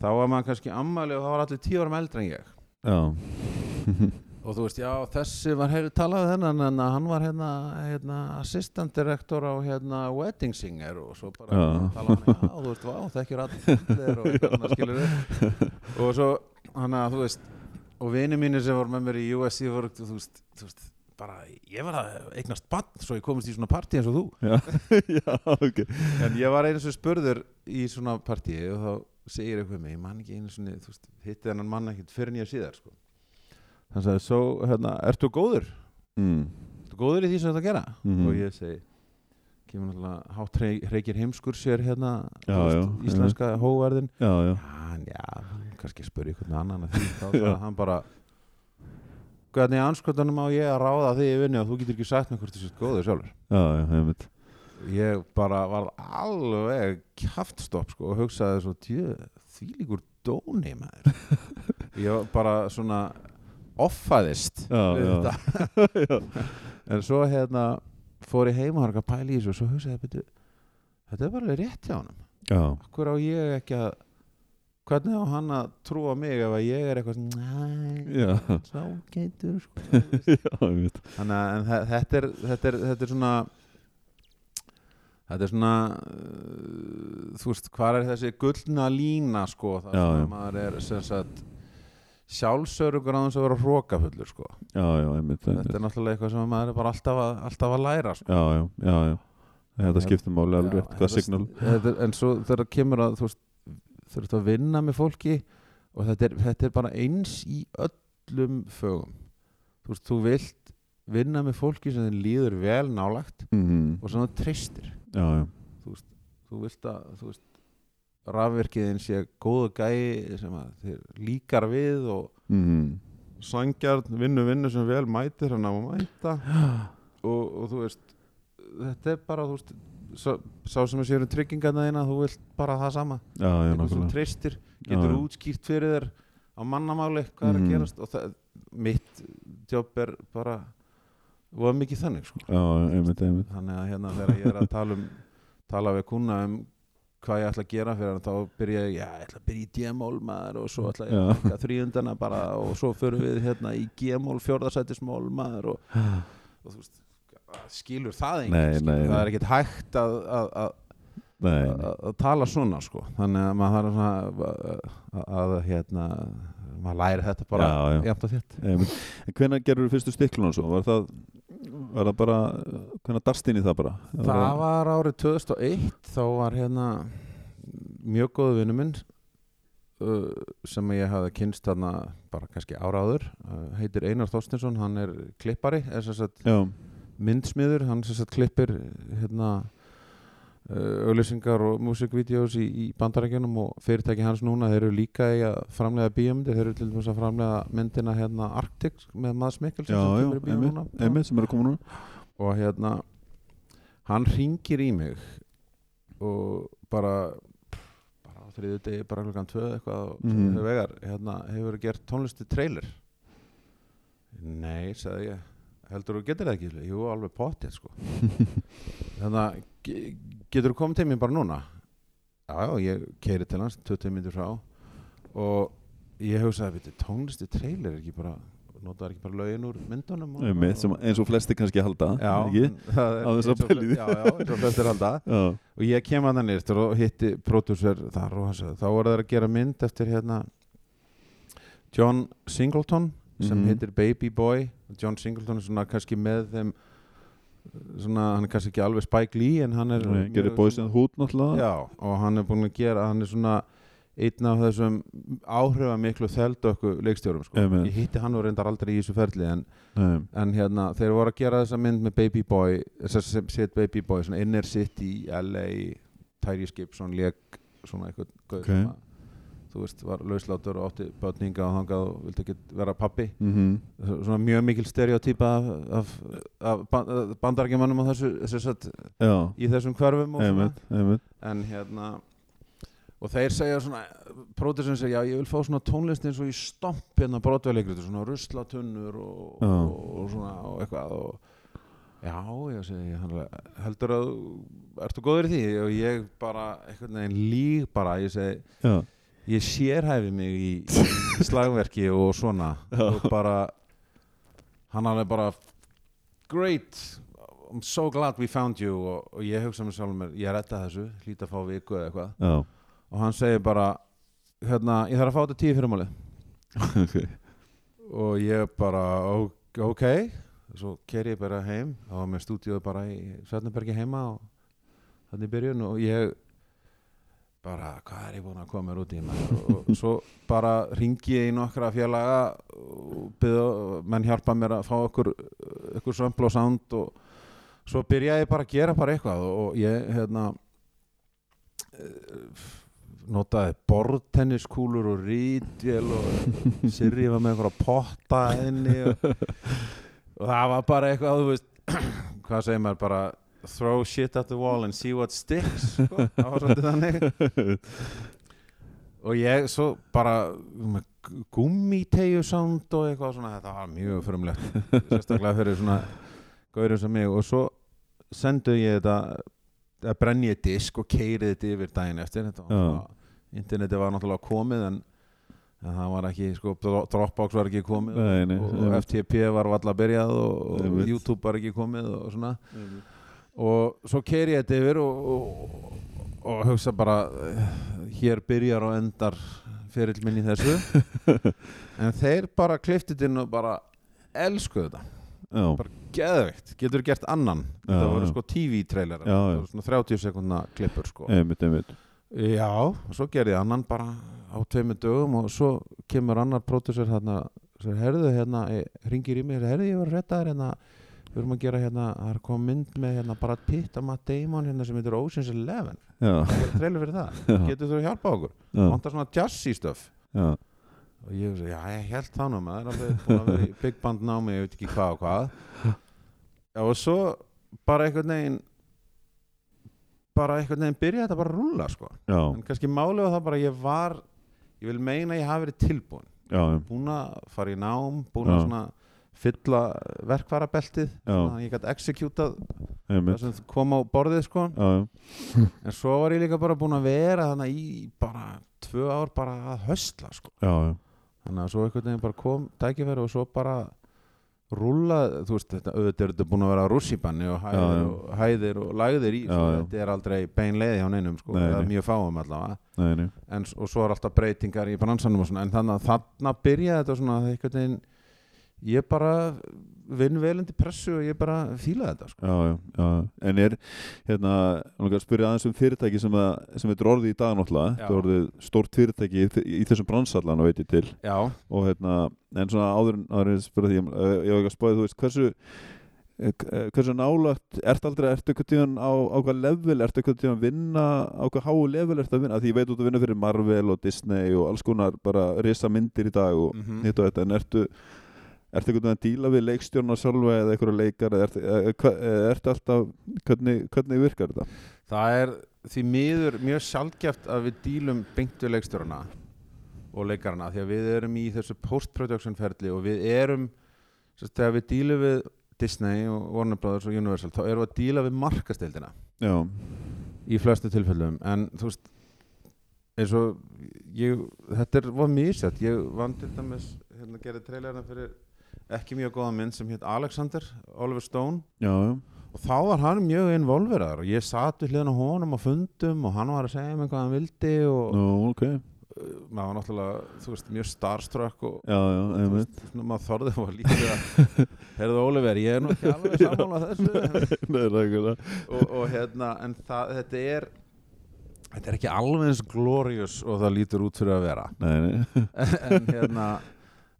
Speaker 2: þá var maður kannski ammali og það var allir tíu árum eldri en ég
Speaker 1: já *laughs*
Speaker 2: og þú veist, já, þessi var hefur talað við þennan en hann var hérna, hérna assistant director á hérna wedding singer og svo bara
Speaker 1: Já.
Speaker 2: talaði hann, já, þú veist, vá, þekkjur allir og eitthvað svona skilur við og svo, hann að, þú veist og vini mínir sem voru með mér í USC voru, þú veist, þú veist bara, ég var að eignast bann svo ég komist í svona partí eins og þú
Speaker 1: Já, *laughs* já, ok
Speaker 2: en ég var einu og spurður í svona partí og þá segir eitthvað mig, ég man ekki einu svona þú veist, hitti hennan mann ekkert fyrir nýja síðar sko. hann sagði, svo, hérna, ertu góður?
Speaker 1: mm.
Speaker 2: Ertu góður í því sem þetta gera?
Speaker 1: Mhm.
Speaker 2: og ég segi kemur náttúrulega, hátt rey- reykir heimskur sér hérna,
Speaker 1: Já,
Speaker 2: þú
Speaker 1: já,
Speaker 2: íslenska hóverðin
Speaker 1: Já, já,
Speaker 2: hann, já, kannski spurði einhvern annan að því,
Speaker 1: *laughs*
Speaker 2: þá sagði
Speaker 1: Já.
Speaker 2: hann bara hvernig anskotanum á ég að ráða því í vinnu og þú getur ekki sagt mér hvort þú sétt góður sjálfur
Speaker 1: já, já, einmitt
Speaker 2: ég bara var alveg kjaftstopp sko og hugsaði svo djö, þvílíkur dóni maður
Speaker 1: *laughs*
Speaker 2: ég var bara svona offaðist
Speaker 1: Já,
Speaker 2: við
Speaker 1: já.
Speaker 2: *laughs* þetta. en svo hérna fór ég heim og harga pæli í þessu og svo hugsaði byrju, þetta er bara alveg rétt hjá honum
Speaker 1: Já,
Speaker 2: hver á ég ekki að hvernig á hann að trúa mig ef að ég er eitthvað svona, næ,
Speaker 1: já, *laughs*
Speaker 2: sá geitur sko
Speaker 1: já, einmitt
Speaker 2: Þannig að en þe- þetta er, þetta er, þetta er svona Þetta er svona uh, Þú veist, hvað er þessi gullna lína sko Það
Speaker 1: Já,
Speaker 2: sem
Speaker 1: já.
Speaker 2: að maður er sem sagt sjálfsörugur á þess að vera hrókafullur sko
Speaker 1: Já, já, einmitt, einmitt.
Speaker 2: Þetta er náttúrulega eitthvað sem maður er bara alltaf að, alltaf að læra sko
Speaker 1: Já, já, já, já Þetta skiptir máli alveg rétt, hvað
Speaker 2: þetta-
Speaker 1: signal
Speaker 2: þetta er- En svo þegar það kemur að þú veist þurftu að vinna með fólki og þetta er, þetta er bara eins í öllum fögum Þú veist, þú vilt vinna með fólki sem þið líður vel nálagt
Speaker 1: mm.
Speaker 2: og svona tristir
Speaker 1: Já, já,
Speaker 2: þú vilt að þú veist, rafverkiðin sé góðu gæi sem að þér líkar við og
Speaker 1: mm.
Speaker 2: sangjarn vinnu vinnu sem vel mætir hann á
Speaker 1: *gasps*
Speaker 2: að mæta og, og þú veist þetta er bara þú veist sá, sá sem að séu um tryggingarna þína þú vilt bara það sama
Speaker 1: já, já,
Speaker 2: Einhver sem
Speaker 1: nákvæmlega
Speaker 2: tristir, getur
Speaker 1: já.
Speaker 2: útskýrt fyrir þér á mannamáli hvað er
Speaker 1: Mhm.
Speaker 2: að gerast og það, mitt jobb er bara var mikið þannig sko
Speaker 1: Já, já, einmitt, einmitt
Speaker 2: þannig að hérna þegar ég er að tala um tala við kuna um hvað ég ætla að gera fyrir hann þá byrja ég, já, ég ætla að byrja í D-mól maður og svo ætla ég
Speaker 1: Já.
Speaker 2: að taka þrýundana bara og svo förum við hérna í G-mól fjórðarsætismól maður og, og þú veist, skilur það enginn
Speaker 1: Nei,
Speaker 2: skilur,
Speaker 1: nei,
Speaker 2: það
Speaker 1: nei.
Speaker 2: er ekkert hægt að, að, að,
Speaker 1: Nei,
Speaker 2: að, að tala svona sko, þannig að maður þarf svona að, að, að hérna maður læri þetta bara
Speaker 1: Já, já.
Speaker 2: jafnt og þétt
Speaker 1: einmitt En hvenær gerur fyrstu stiklun og svo? Var það, var það bara, hvenær dast inn í það bara?
Speaker 2: Það var árið 2001 þá var hérna mjög góðu vinnu minn uh, sem ég hafði kynst þarna bara kannski áraður uh, heitir Einar Þorstinsson, hann er klippari er sem sagt
Speaker 1: Já,
Speaker 2: myndsmiður, hann sem sagt klippir hérna uh, auðlýsingar og músikvídeós í, í bandarækjunum og fyrirtæki hans núna þeir eru líka í að framlega bíómyndir þeir eru til dæmis að framlega myndina hérna Arctic með Mads Mikkelsen
Speaker 1: já,
Speaker 2: sem
Speaker 1: já,
Speaker 2: kemur í bíó
Speaker 1: einmitt,
Speaker 2: núna.
Speaker 1: einmitt sem er að koma núna
Speaker 2: og hérna hann ringir í mig og bara bara á þriðu degi, bara klukkan tvö eitthvað og
Speaker 1: Mhm.
Speaker 2: mm. vegar, hérna, hefur gert tónlisti trailer nei, sagði ég heldur þú getur það ekki, jú, alveg potið
Speaker 1: *laughs*
Speaker 2: sko þannig að getur þú komið til mér bara núna já, já, ég keiri til hans 20 minnir frá og ég hugsaði, veitir, tónlisti trailer er ekki bara, notaði ekki bara lögin úr myndunum og-
Speaker 1: Einmitt, sem eins og flesti kannski halda
Speaker 2: Já,
Speaker 1: *laughs* ekki?
Speaker 2: það
Speaker 1: Á þess að
Speaker 2: eins og
Speaker 1: pæla í því.
Speaker 2: flest- Já, já, eins og flestir halda
Speaker 1: Já,
Speaker 2: Og ég kem að það nýrt og hitti pródúsver þar og hans Þá voru þeir að gera mynd eftir hérna John Singleton sem
Speaker 1: Mhm.
Speaker 2: heitir Baby Boy John Singleton er svona kannski með þeim svona, hann er kannski ekki alveg Spike Lee en hann er
Speaker 1: Nei,
Speaker 2: mjög
Speaker 1: gerir bóðis en hút náttúrulega
Speaker 2: Já, og hann er búin að gera hann er svona einn af þessum áhrifa miklu þeldökku leikstjórum sko.
Speaker 1: Amen.
Speaker 2: ég hitti hann og reyndar aldrei í þessu ferli en,
Speaker 1: Nei,
Speaker 2: en hérna, þeir voru að gera þessa mynd með Baby Boy þessa sem- set Baby Boy, svona Inner City LA, Tyrese Gibson leik svona eitthvað gaur
Speaker 1: Ok.
Speaker 2: sem að, þú veist, var lauslátur og átti börninga og þangað og vildi ekki vera pappi
Speaker 1: mhm,
Speaker 2: svona mjög mikil stereotýpa af, af, af, ban- af bandarækjumannum á þessu, þessu satt,
Speaker 1: já
Speaker 2: í þessum hverfum og svona.
Speaker 1: einmitt, einmitt
Speaker 2: en hérna og þeir segja svona pródusinn segja, já ég vil fá svona tónlist eins og í stomp hérna brotveðleikrið, svona ruslatunnur og,
Speaker 1: Já.
Speaker 2: og, og svona og eitthvað og já, já, segi ég hann alveg, heldur að þú- ertu góður í því og ég bara, einhvern veginn líg bara, ég segi
Speaker 1: Já,
Speaker 2: ég sérhæfi mig í, í slagverki og svona og bara hann alveg bara great, I'm so glad we found you og, og ég hugsa mér sjálfur mér ég retta þessu, hlýta að fá viku eða eitthvað *laughs*
Speaker 1: já,
Speaker 2: og hann segir bara hérna, ég þarf að fá þetta tíu fyrir máli
Speaker 1: ok
Speaker 2: og ég bara, "Ó- ok svo ker ég bara heim þá var mér stúdíu bara í Svetnabergi heima og þannig í byrjun og ég bara, hvað er ég búinn að koma mér út í maður og, og svo bara ringi ég í nokkra félaga og byrðu, menn hjálpa mér að fá okkur okkur sömbl og sound og svo byrja ég bara að gera bara eitthvað og ég, hérna eh, notaði borðtenniskúlur og rítvél og Sirri var með einhverja potta inni og, og það var bara eitthvað þú veist, *clears throat* hvað segir maður bara throw shit at the wall and see what sticks sko, það var svolítið þannig og ég svo bara gummitegju sound og eitthvað svona þetta var mjög frumlegt sérstaklega fyrir svona gaurum sem mig og svo sendu ég þetta að brenni ég disk og keiri þetta yfir daginn eftir þetta var
Speaker 1: Já.
Speaker 2: svona interneti var náttúrulega komið en, en það var ekki sko, Dro- Dropbox var ekki komið
Speaker 1: Nei, nei,
Speaker 2: og, og
Speaker 1: einmitt.
Speaker 2: FTP var valla byrjað og, og
Speaker 1: Einmitt.
Speaker 2: YouTube var ekki komið og svona og svo keiri ég þetta yfir og, og, og hugsa bara eh, hér byrjar og endar ferill minn í þessu
Speaker 1: *laughs*
Speaker 2: en þeir bara kliftið inn og bara elskuðu þetta,
Speaker 1: Já,
Speaker 2: bara geðveikt getur gert annan,
Speaker 1: Já,
Speaker 2: það voru
Speaker 1: já.
Speaker 2: sko TV-trailer
Speaker 1: Já, já.
Speaker 2: svona 30 sekundna klippur sko
Speaker 1: einmitt, einmitt
Speaker 2: já, og svo gerði ég annan bara á tveimur dögum og svo kemur annar pródusur hérna sér herðu hérna, ringir í mig herðu ég var að retta þér hérna við erum að gera hérna, það er komið mynd með hérna bara Pitt að Matt Damon hérna sem heitir Ocean's Eleven,
Speaker 1: Já,
Speaker 2: það er trailer fyrir það
Speaker 1: já,
Speaker 2: getur þú að hjálpa okkur,
Speaker 1: já,
Speaker 2: vantar svona jazzy stuff
Speaker 1: já
Speaker 2: og ég hugsa, já ég held það nú maður er alveg búin að vera í big band námi ég veit ekki hvað og hvað já, og svo bara einhvern veginn bara einhvern veginn byrja þetta bara að rúlla sko
Speaker 1: Já,
Speaker 2: en kannski málið var það bara að ég var ég vil meina að ég hafi verið tilbúin
Speaker 1: já, já,
Speaker 2: búin að fara í nám, búin að
Speaker 1: Já.
Speaker 2: svona fylla verkvarabeltið
Speaker 1: Já.
Speaker 2: þannig að ég gæti executað það
Speaker 1: einmitt
Speaker 2: sem kom á borðið sko
Speaker 1: Já, já,
Speaker 2: en svo var ég líka bara búin að vera þannig í bara tvö ár bara að höstla sko
Speaker 1: já, já
Speaker 2: þannig að svo einhvern veginn bara kom tækifæri og svo bara rúla, þú veist, þetta auðvitað er þetta búin að vera rússipanni og hæðir,
Speaker 1: Já, já.
Speaker 2: Og, hæðir og læðir í,
Speaker 1: Já,
Speaker 2: svo
Speaker 1: já.
Speaker 2: þetta er aldrei bein leiði hjá neinum, sko,
Speaker 1: Nei,
Speaker 2: það er
Speaker 1: nei.
Speaker 2: mjög fáum allavega,
Speaker 1: Nei, nei,
Speaker 2: en, s- og svo er alltaf breytingar í bransanum og svona, en þannig að þannig að byrja þetta svona, að einhvern veginn ég bara vinn vel undir pressu og ég bara fíla þetta, sko
Speaker 1: já, já, já En er, hérna, langar að spyrja aðeins um fyrirtæki sem, að, sem þetta er orðið í dag náttúrulega
Speaker 2: Já.
Speaker 1: Þetta er orðið stórt fyrirtæki í, í þessum bransallan og veit ég til
Speaker 2: Já,
Speaker 1: og hérna, en svona áður en- áður en ég spyrja því, um, eh, ég var ekki að spáði, þú veist, hversu eh, hversu nálagt, ertu aldrei ertu eitthvað tíðan á, á hvað level ertu eitthvað tíðan að vinna, á hvað háu level ertu að vinna, Af því ég veit út að vinna fyrir Marvel og Disney og alls konar bara risa myndir í dag og
Speaker 2: Mhm.
Speaker 1: hitt og þetta, en ertu ertu einhvern veginn að díla við leikstjórna sjálfa eða einhverja leikar, eða ertu, eða hva- eða ertu alltaf, hvernig, hvernig virkar þetta?
Speaker 2: það er því miður mjög sjálfgeft að við dílum beintu leikstjórna og leikarana því að við erum í þessu post-production ferli og við erum sérst, þegar við dílum við Disney og Warner Brothers og Universal þá erum við að díla við markastildina
Speaker 1: Já,
Speaker 2: í flestu tilfellum en þú veist eins og ég, þetta er, var mísett ég vann til dæmis hérna gerði trailerna fyrir ekki mjög góða mynd sem hétt Alexander, Oliver Stone
Speaker 1: já, já,
Speaker 2: og þá var hann mjög involveraður og ég satt við hliðin á honum á fundum og hann var að segja mér hvað hann vildi og
Speaker 1: nú, ok,
Speaker 2: uh, maður var náttúrulega þú veist, mjög starstruck og
Speaker 1: já, já,
Speaker 2: þú
Speaker 1: einmitt
Speaker 2: veist, svona maður þorði og lítið að herðu Oliver, ég er nú ekki alveg sammála þessu
Speaker 1: *laughs* Nei, nákvæmlega.
Speaker 2: og, og hérna, en það, þetta er þetta er ekki alveg eins glorious og það lítur út fyrir að vera
Speaker 1: Nei, nei.
Speaker 2: en hérna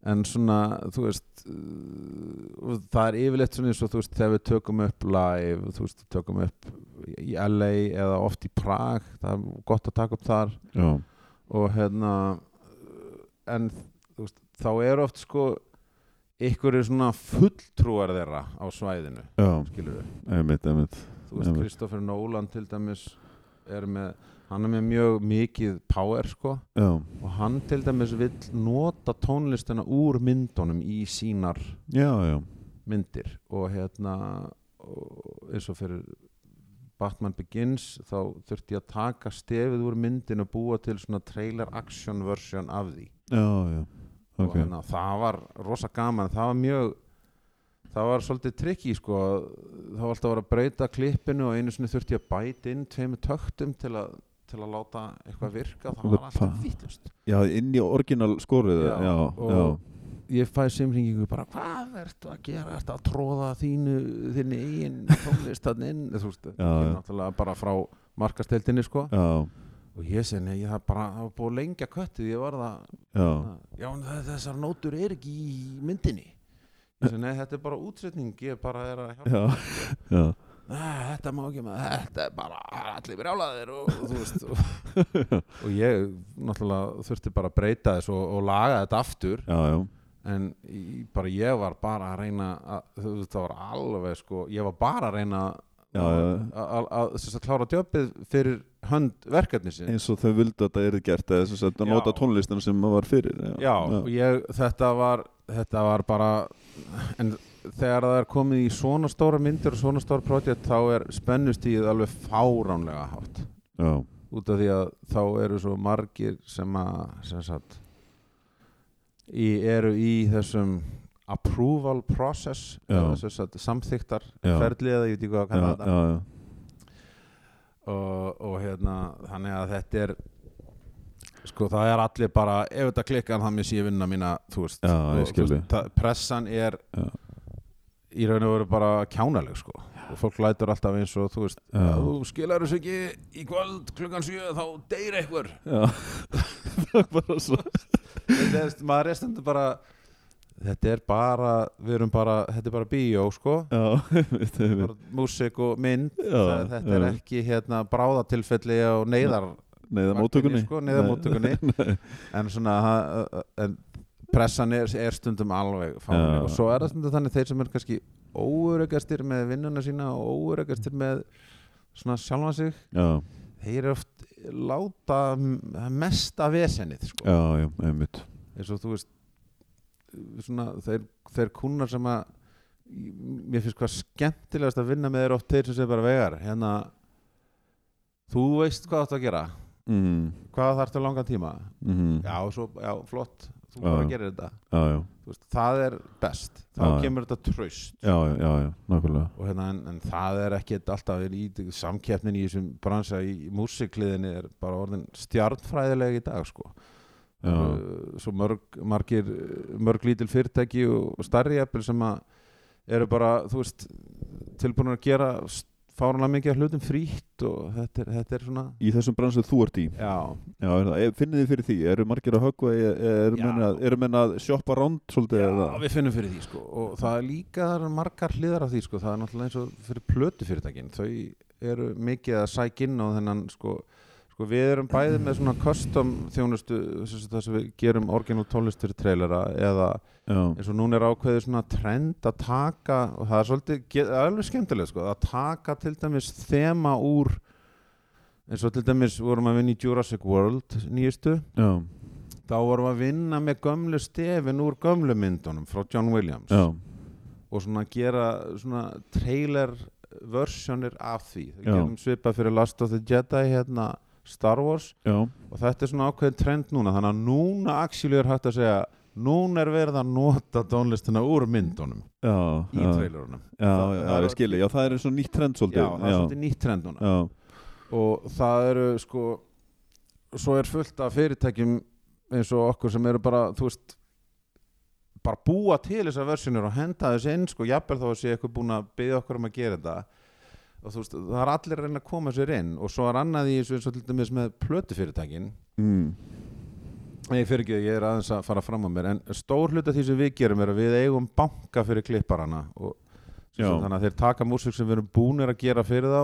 Speaker 2: en svona, þú veist uh, og það er yfirleitt svona eins og þú veist, þegar við tökum upp live þú veist, tökum upp í LA eða oft í Prag, það er gott að taka upp þar
Speaker 1: Já,
Speaker 2: og hérna uh, en þú veist, þá er oft sko ykkur er svona fulltrúar þeirra á svæðinu,
Speaker 1: já,
Speaker 2: skilur við
Speaker 1: einmitt, einmitt
Speaker 2: þú veist,
Speaker 1: Einmitt.
Speaker 2: Kristoffer Nolan til dæmis er með, hann er með mjög mikið power sko
Speaker 1: Já,
Speaker 2: og hann til dæmis vill nota tónlistina úr myndunum í sínar
Speaker 1: já, já,
Speaker 2: myndir og hérna og eins og fyrir Batman Begins þá þurfti ég að taka stefið úr myndin og búa til svona trailer action version af því
Speaker 1: já, já
Speaker 2: og
Speaker 1: Ok,
Speaker 2: hérna, það var rosa gaman það var mjög það var svolítið tricky sko það var alltaf að vera að breyta klippinu og einu sinni þurfti ég að bæta inn tveimur töktum til að, til að láta eitthvað virka það var alltaf vittlust
Speaker 1: já, inn í orginal skorið
Speaker 2: Já,
Speaker 1: Já, já,
Speaker 2: og-
Speaker 1: já,
Speaker 2: ég fæ simringingu bara hvað ertu að gera, ertu að tróða þínu þinni eigin tónlist þarna inn þú veist,
Speaker 1: Já,
Speaker 2: það er
Speaker 1: já.
Speaker 2: náttúrulega bara frá markasteldinni sko
Speaker 1: já,
Speaker 2: og ég segi, nei, ég það bara, það var búið að lengja köttið ég var það,
Speaker 1: já
Speaker 2: já, en þe- þessar nótur er ekki í myndinni ég segi, nei, þetta er bara útsetning ég bara er að hjálpa,
Speaker 1: Já, *laughs* já,
Speaker 2: "Nei, þetta má ekki maður þetta er bara, allir brjálaðir og, og þú veist og, og ég náttúrulega þurfti bara að breyta þess og, og laga þetta aftur
Speaker 1: já, já
Speaker 2: en í, bara ég var bara að reyna að, þú veist það var alveg sko ég var bara að reyna
Speaker 1: Já,
Speaker 2: að,
Speaker 1: já.
Speaker 2: að, að, að, sem sagt, klára djöpið fyrir hönd verkefni sinni
Speaker 1: eins og þau vildu að það er gert eða þess að
Speaker 2: Já.
Speaker 1: nota tónlistin sem maður var fyrir
Speaker 2: já, og ég, þetta var þetta var bara en þegar það er komið í svona stóra myndir og svona stóra projekt þá er spennustíð alveg fáránlega hátt
Speaker 1: já,
Speaker 2: út af því að þá eru svo margir sem að sem sagt, í, eru í þessum approval process
Speaker 1: Já.
Speaker 2: eða sem sagt, samþyktar
Speaker 1: Já.
Speaker 2: ferli eða ég veit ekki hvað
Speaker 1: já,
Speaker 2: að kalla
Speaker 1: já, já,
Speaker 2: þetta og, og hérna þannig að þetta er sko það er allir bara ef þetta klikkar þá missi ég vinna mína þú veist,
Speaker 1: Já,
Speaker 2: og,
Speaker 1: ég skil þig.
Speaker 2: það, pressan er
Speaker 1: Já.
Speaker 2: í raun og veru bara kjánaleg sko og fólk lætur alltaf eins og þú veist
Speaker 1: Já.
Speaker 2: "Ef þú skilar þessu ekki í kvöld klukkan 7 þá deyr einhver
Speaker 1: já. það er bara svo
Speaker 2: þetta er, maður er stundur bara þetta er bara, við erum bara þetta er bara bíó sko
Speaker 1: já, *laughs* einmitt, einmitt.
Speaker 2: bara músík og mynd
Speaker 1: Já,
Speaker 2: það, þetta er
Speaker 1: já.
Speaker 2: ekki hérna bráðatilfelli og neyðar
Speaker 1: neyða móttökunni
Speaker 2: sko, neyðarmóttökunni.
Speaker 1: *laughs*
Speaker 2: en svona ha- en pressan er, er stundum alveg
Speaker 1: Já.
Speaker 2: fáinlega og svo er það stundum þannig þeir sem er kannei óuröggastir með vinnuna sína og óuröggastir með svona sjálfa sig
Speaker 1: já,
Speaker 2: þeir eru oft láta m- mesta vesennið sko
Speaker 1: já, já, einmitt
Speaker 2: eins og þú veist svona, þeir, þeir kunnar sem að mér finnst hvað skemmtilegast að vinna með þeir oft þeir sem segir bara vegar hérna, þú veist hvað áttu að gera
Speaker 1: mm,
Speaker 2: hvað þarftu langan tíma
Speaker 1: mm,
Speaker 2: já, svo, já flott, þú
Speaker 1: Já,
Speaker 2: bara
Speaker 1: já.
Speaker 2: gerir þetta
Speaker 1: já, já,
Speaker 2: Þú veist, það er best, þá
Speaker 1: Já, já.
Speaker 2: kemur þetta tröst
Speaker 1: já, já, já, já, nákvæmlega
Speaker 2: og hérna, en, en það er ekki alltaf er í samkeppnin í þessum bransa í, í músikliðinni er bara orðin stjarnfræðileg í dag sko
Speaker 1: já,
Speaker 2: Uh, svo mörg, margir uh, mörg lítil fyrirtæki og og stærri eppil sem að eru bara þú veist, tilbúin að gera fáranlega mikið af hlutum frítt og þetta er, þetta er svona
Speaker 1: í þessum bransu þú ert í
Speaker 2: já,
Speaker 1: já, er það, finnið þið fyrir því, eru margir að höggva e- e- eru
Speaker 2: Já.
Speaker 1: menn að, eru menn að sjoppa rond svolítið eða
Speaker 2: við finnum fyrir því sko og það er líka það eru margar hliðar af því sko það er náttúrulega eins og fyrir plötu fyrirtækin þau eru mikið að sæk inn á þennan sko Sko, við erum bæði með svona custom þjónustu sem sagt það sem við gerum orginal tónlist fyrir trailera eða
Speaker 1: já,
Speaker 2: eins og núna er ákveðið svona trend að taka og það er svolítið, ge- það er alveg skemmtilega sko, að taka til dæmis þema úr eins og til dæmis vorum að vinna í Jurassic World nýjustu,
Speaker 1: já,
Speaker 2: þá vorum að vinna með gömlu stefin úr gömlu myndunum frá John Williams
Speaker 1: já,
Speaker 2: og svona gera svona trailer versjónir af því við
Speaker 1: Já.
Speaker 2: gerum svipað fyrir Last of the Jedi hérna Star Wars
Speaker 1: já
Speaker 2: og þetta er svona ákveðin trend núna þannig að núna actually er hægt að segja núna er verið að nota tónlistina úr myndunum
Speaker 1: Já,
Speaker 2: í
Speaker 1: já,
Speaker 2: trailerunum
Speaker 1: já,
Speaker 2: Það-
Speaker 1: já,
Speaker 2: það-
Speaker 1: ég skilji, já, það er eins og nýtt trend
Speaker 2: já,
Speaker 1: svolítið,
Speaker 2: það er svolítið nýtt trend núna
Speaker 1: já,
Speaker 2: og það eru sko svo er fullt af fyrirtækjum eins og okkur sem eru bara þú veist bara búa til þessar versjónur og henda þessu inn sko, jafnvel þá sé eitthvað búin að byggja okkur um að gera þetta og þú veist, það er allir að reyna að koma sér inn og svo er annað í þessu eins og til dæmis með plötufyrirtækin
Speaker 1: mm.
Speaker 2: ég fyrir ekki, ég er aðeins að fara fram á mér en stór hluta því sem við gerum er að við eigum banka fyrir klipparana og
Speaker 1: Já.
Speaker 2: sem þannig að þeir taka músík sem við erum búnir að gera fyrir þá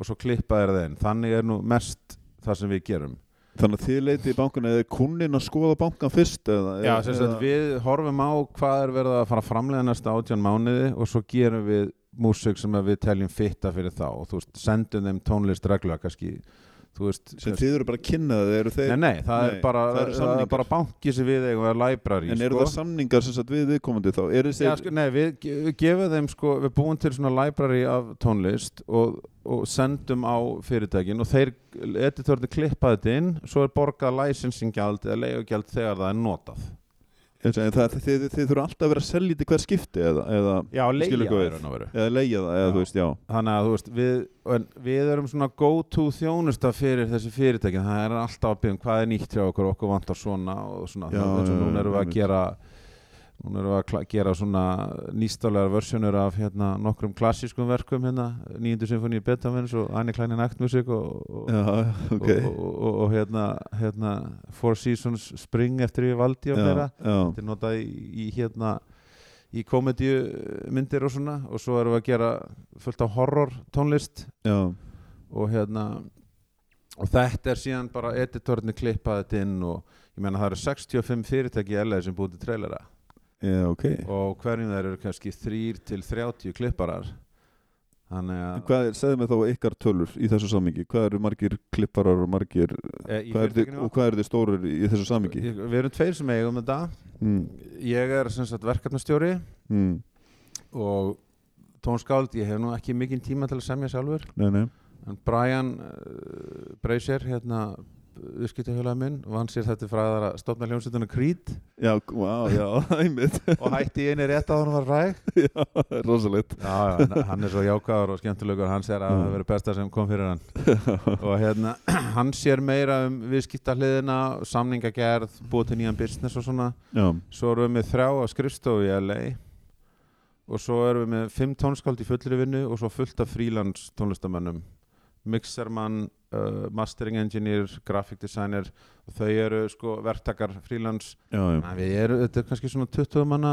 Speaker 2: og svo klippa þeir þeim, þannig er nú mest það sem við gerum
Speaker 1: Þannig að þið leitið í bankan eða kunnin að skoða bankan fyrst eða,
Speaker 2: Já,
Speaker 1: eða-
Speaker 2: sem sagt,
Speaker 1: eða-
Speaker 2: við horfum á hvað er verið að fara að framleiða næsta átján mánuði og svo gerum við músík sem að við teljum fitta fyrir þá og þú veist, sendum þeim tónlist reglulega kannski, þú veist
Speaker 1: sem þið eru bara að kynna það eru þeir,
Speaker 2: Nei, nei, það
Speaker 1: nei,
Speaker 2: er bara,
Speaker 1: það eru
Speaker 2: það er
Speaker 1: samningar.
Speaker 2: bara banki sem við eigum að library
Speaker 1: en eru
Speaker 2: sko.
Speaker 1: það samningar sem sagt við viðkomandi þá eru
Speaker 2: Já,
Speaker 1: þeir,
Speaker 2: sko, nei, við, ge- við gefum þeim sko, við búum til svona library af tónlist og, og sendum á fyrirtækin og þeir, editorni klippa þetta inn, svo er borgað licensinggjald eða leigugjald þegar það er notað
Speaker 1: en það, þið, þið, þið þurfa alltaf að vera að selja þetta í hver skipti eða, eða,
Speaker 2: Já,
Speaker 1: Skil ekki
Speaker 2: leigja
Speaker 1: við.
Speaker 2: er hann að vera
Speaker 1: eða leigja það eða
Speaker 2: Já.
Speaker 1: þú veist, já
Speaker 2: Þannig að þú veist, við, en við erum svona go-to þjónusta fyrir þessi fyrirtækin, það er alltaf að byggja um hvað er nýtt hjá okkur, okkur vantar svona og svona,
Speaker 1: Já,
Speaker 2: þannig að
Speaker 1: já,
Speaker 2: núna
Speaker 1: já,
Speaker 2: erum við að
Speaker 1: einmitt.
Speaker 2: gera núna erum við að kla- gera svona nýstálegar versjónur af hérna nokkrum klassískum verkum hérna, nýjundu symfóníu Beethoven's og Annie Kleine Nachtmusik og, og,
Speaker 1: já, ok
Speaker 2: og, og, og, og hérna, hérna Four Seasons Spring eftir við valdi og fleira
Speaker 1: já, já.
Speaker 2: þetta er notað í, í hérna í komedju myndir og svona og svo erum við að gera fullt af horror tónlist
Speaker 1: já,
Speaker 2: og hérna og þetta er síðan bara editorni klippað þetta inn og ég meina það eru 65 fyrirtæki í LA sem búið til trailera
Speaker 1: já, ok
Speaker 2: og hverjum þær eru kannski 3 til 30 klipparar þannig að
Speaker 1: Hvað er, segðu mig þá ykkar tölur í þessu samingi hvað eru margir klipparar og margir
Speaker 2: Eh,
Speaker 1: hvað eru
Speaker 2: í
Speaker 1: þið,
Speaker 2: fyrirtækinu
Speaker 1: og hvað eru þið stórir í þessu samingi
Speaker 2: Ég- við erum tveir sem eigum þetta
Speaker 1: mm,
Speaker 2: ég er sem sagt verkefnastjóri
Speaker 1: mm,
Speaker 2: og tónskáld ég hef nú ekki mikinn tíma til að semja sjálfur
Speaker 1: nei, nei,
Speaker 2: En Brian uh, Bracer, hérna viðskiptahjólaði minn, vann sér þetta fræðar að stofna hljómsveituna Creed
Speaker 1: já,
Speaker 2: *laughs*
Speaker 1: wow, já, einmitt
Speaker 2: og hætti í einu rétt að hann var ræg.
Speaker 1: *laughs* já, rosalegt
Speaker 2: Já, já, hann- hann er svo jákaður og skemmtilegur, hann sér að það verið besta sem kom fyrir hann. og hérna, *clears throat* hann sér meira um viðskiptahliðina, samningagerð, búið til nýjan business og svona.
Speaker 1: já,
Speaker 2: Svo erum við með þrjá að skrifstofu í LA og svo erum við með fimm tónskáld í fullri vinnu og svo fullt af frílands tónlistamönnum mixermann, uh, mastering engineer graphic designer og þau eru sko verktakar frílands
Speaker 1: já, já.
Speaker 2: við erum, þetta er kannski svona 20 manna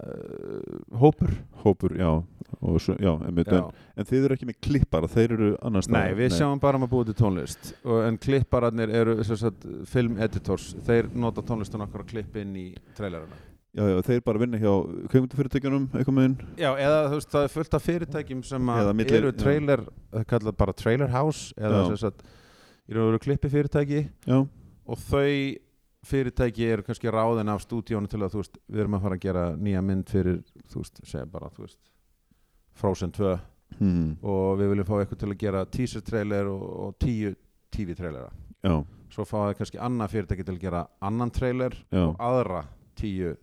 Speaker 2: uh, hópur
Speaker 1: hópur, já, og, svo, já, einmitt,
Speaker 2: Já.
Speaker 1: en, en þið eru ekki með klippara þeir eru annars
Speaker 2: Nei, við sjáum bara um að búa til tónlist og, en klippararnir eru sem sagt, film editors, þeir nota tónlistun okkar að klippa inn í trailerina
Speaker 1: já, já, þeir bara vinna hjá kvöngmyndafyrirtækjunum eitthvað með hinn
Speaker 2: Já, eða þú veist, það er fullt af fyrirtækjum sem að
Speaker 1: Eða milli-
Speaker 2: eru
Speaker 1: já.
Speaker 2: trailer, það er kallað bara trailer house eða
Speaker 1: Já.
Speaker 2: þess að eru að vera klippi fyrirtæki
Speaker 1: já,
Speaker 2: og þau fyrirtæki eru kannski ráðin af stúdíónu til að þú veist, við erum að fara að gera nýja mynd fyrir, þú veist, segja bara þú veist, Frozen 2
Speaker 1: hmm,
Speaker 2: og við viljum fá eitthvað til að gera teaser trailer og, og tíu TV trailera
Speaker 1: já,
Speaker 2: svo fá það kannski annað fyrirtæki til að gera annan trailer
Speaker 1: já,
Speaker 2: og aðra tíu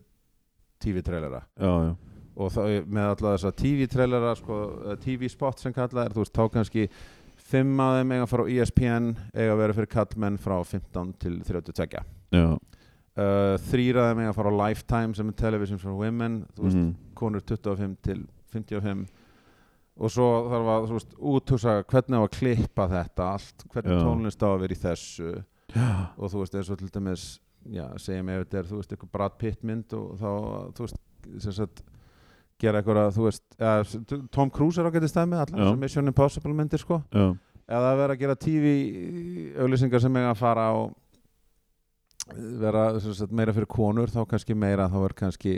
Speaker 2: TV trailera
Speaker 1: já, já.
Speaker 2: og þá með alla þessa TV-trailera sko, TV-spot sem kallað er þú veist, þá kannski fimm af þeim eiga að fara á E ESPN, eiga að vera fyrir kallmenn frá 15 til 32 uh,
Speaker 1: já.
Speaker 2: þrýra Uh, af þeim eiga að fara á Lifetime sem er television for women þú veist,
Speaker 1: Mm.
Speaker 2: konur 25 til 55 og svo þarf að þú veist, útúsa hvernig á að klippa þetta allt, hvernig
Speaker 1: Já.
Speaker 2: tónlist á að vera í þessu
Speaker 1: Já.
Speaker 2: og þú veist, eins og til dæmis já, segjum ef þetta er, þú veist, eitthvað Brad Pitt mynd og þá, þú veist, sem sagt gera eitthvað, þú veist ja, Tom Cruise er á getið stæmi, allar
Speaker 1: Já.
Speaker 2: þessar Mission Impossible myndir, sko
Speaker 1: Já.
Speaker 2: eða að vera að gera TV auðlýsingar sem eiga að fara á vera sem sagt, meira fyrir konur, þá kannski meira þá er kannski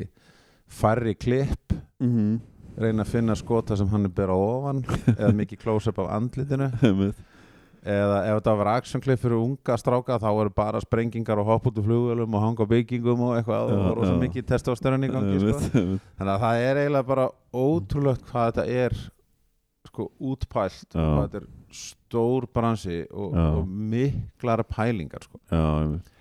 Speaker 2: færri klipp
Speaker 1: Mhm.
Speaker 2: reyna
Speaker 1: *laughs*
Speaker 2: að finna skota sem hann er bera ofan eða mikið close-up af andlitinu
Speaker 1: Einmitt.
Speaker 2: eða ef þetta var actionklið fyrir unga stráka þá eru bara sprengingar og hopp út úr flugvölum og hanga á byggingum og eitthvað
Speaker 1: Já,
Speaker 2: og rosa
Speaker 1: já.
Speaker 2: mikið testosterun í gangi sko.
Speaker 1: Einmitt, einmitt.
Speaker 2: þannig að það er eiginlega bara ótrúlegt hvað þetta er sko útpælt
Speaker 1: Já.
Speaker 2: og hvað þetta er stór bransi og,
Speaker 1: Já.
Speaker 2: og miklar pælingar sko.
Speaker 1: Já, einmitt.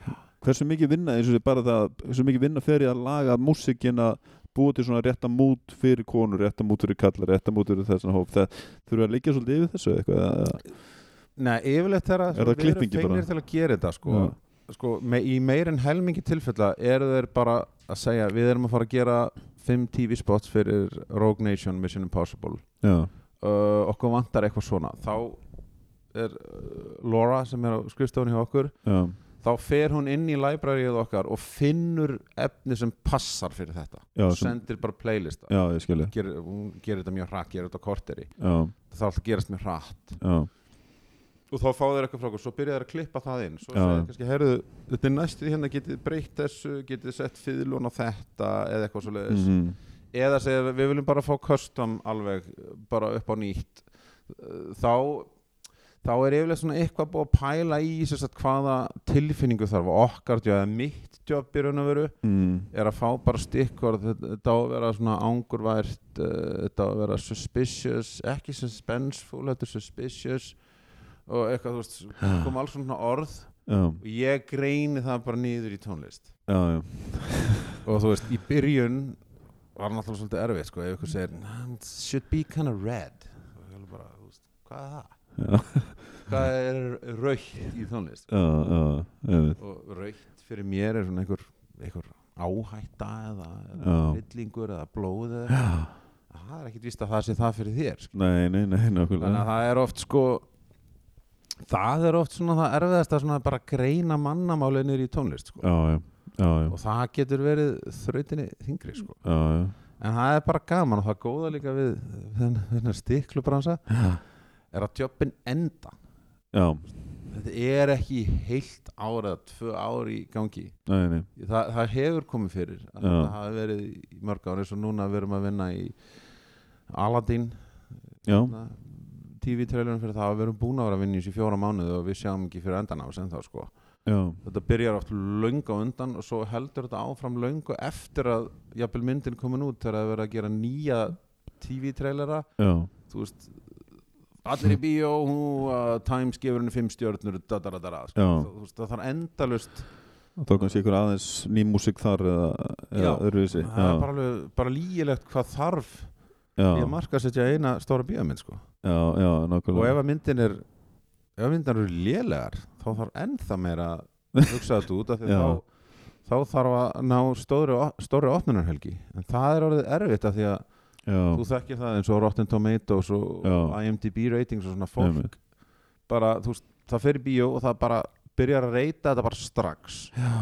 Speaker 1: hversu mikið vinna eins og þessi bara það, hversu mikið vinna fer ég að laga músikina búið til svona rétta mút fyrir konur, rétta mút fyrir kallar rétta mút fyrir þessan hóp það þurfa að liggja svolítið yfir þessu eitthvað eða-
Speaker 2: Nei, yfirleitt þeirra
Speaker 1: Er það klippingi bara?
Speaker 2: til að gera þetta sko, sko me, í meir en helmingi tilfella eru þeir bara að segja við erum að fara að gera 5 TV spots fyrir Rogue Nation Mission Impossible
Speaker 1: já,
Speaker 2: uh, okkur vantar eitthvað svona þá er uh, Laura sem er á skrifstofunni hjá okkur
Speaker 1: já,
Speaker 2: þá fer hún inn í libraryið okkar og finnur efni sem passar fyrir þetta
Speaker 1: já,
Speaker 2: og
Speaker 1: sem,
Speaker 2: sendir bara playlista
Speaker 1: já ég skilji
Speaker 2: gerir, hún gerir þetta mjög hratt, gerir þetta á korteri
Speaker 1: já,
Speaker 2: það þarf alltaf að gerast mjög hratt
Speaker 1: já,
Speaker 2: og þá fá þeir eitthvað frá okkur, svo byrja þeir að klippa það inn svo
Speaker 1: Já.
Speaker 2: segir kannski, heyrðu, þetta er næstu hérna getið breytt þessu, getið sett fýðlun á þetta eða eitthvað svo leiðis
Speaker 1: mhm,
Speaker 2: eða segja við- við viljum bara fá custom alveg bara upp á nýtt þá þá er yfirlega svona eitthvað búið að pæla í sem sagt, hvaða tilfinningu þarf okkar jobb eða mitt jobb í raun og veru
Speaker 1: mhm
Speaker 2: er að fá bara stikkvörð þetta þetta á að vera svona angurvært eh, þetta á að vera suspicious ekki suspenseful, þetta er suspicious og eitthvað, þú veist kom alls svona orð
Speaker 1: já,
Speaker 2: og ég greini það bara nýður í tónlist
Speaker 1: já, já,
Speaker 2: og þú veist, í byrjun var náttúrulega svolítið erfið sko, ef ykkur segir "Nah, it should be kind of red og ég alveg bara, þú veist, hvað er það?
Speaker 1: já,
Speaker 2: hvað er raukt í tónlist?
Speaker 1: já, já, einmitt.
Speaker 2: og raukt fyrir mér er svona einhver, einhver áhætta eða, eða
Speaker 1: Já.
Speaker 2: hryllingur eða blóð eða eitthvað. það er ekkit víst að það sé það fyrir þér sko.
Speaker 1: Nei, nei, nei,
Speaker 2: þannig
Speaker 1: nákvæmlega
Speaker 2: að það er oft sko það er oft svona það erfiðasta svona bara að greina mannamáli niður í tónlist sko.
Speaker 1: Já, já, já, já,
Speaker 2: og það getur verið þrautinni þingri sko.
Speaker 1: já, já
Speaker 2: En það er bara gaman og það er góða líka við þennan stiklubransa er að jobbin enda
Speaker 1: Já,
Speaker 2: þetta er ekki í heilt ára tvö ár í gangi
Speaker 1: nei, nei,
Speaker 2: það, það hefur komið fyrir að
Speaker 1: Já.
Speaker 2: þetta hafi verið í mörg ári eins og núna verum að vinna í Aladdin
Speaker 1: já,
Speaker 2: TV-trailerun fyrir það að við erum búin að vera að vinna í þessi fjóra mánuði og við sjáum ekki fyrir endan á sem þá sko
Speaker 1: já,
Speaker 2: þetta byrjar oft löngu á undan og svo heldur þetta áfram löngu eftir að jafnvel myndin komin út þegar það er verið að gera nýja TV-trailera
Speaker 1: já
Speaker 2: þú veist allir í bíó, hú, uh, Times gefur henni fimm stjörnur, dadadadada sko.
Speaker 1: Já.
Speaker 2: þú veist, það þarf endalust
Speaker 1: Þá kannski ykkur aðeins ný músík þar eða, eða
Speaker 2: Já.
Speaker 1: öðruvísi
Speaker 2: það er
Speaker 1: Já,
Speaker 2: bara, alveg, bara lýgilegt hvað þarf
Speaker 1: já,
Speaker 2: í að marka setja eina stóra bíómynd sko.
Speaker 1: já, já,
Speaker 2: og ef
Speaker 1: nákvæmlega
Speaker 2: að myndin er ef að myndin eru lélegar þá þarf ennþá meira að hugsa
Speaker 1: *laughs*
Speaker 2: þetta út af því
Speaker 1: Já.
Speaker 2: þá, þá þarf að ná stóri, stóri opnunarhelgi en það er orðið erfitt af því að
Speaker 1: Já,
Speaker 2: þú þekkir það eins og Rotten Tomatoes og
Speaker 1: Já.
Speaker 2: IMDb ratings og svona fólk
Speaker 1: Einmitt.
Speaker 2: bara, þú veist, það fer í bíó og það bara byrjar að reyta þetta bara strax Já.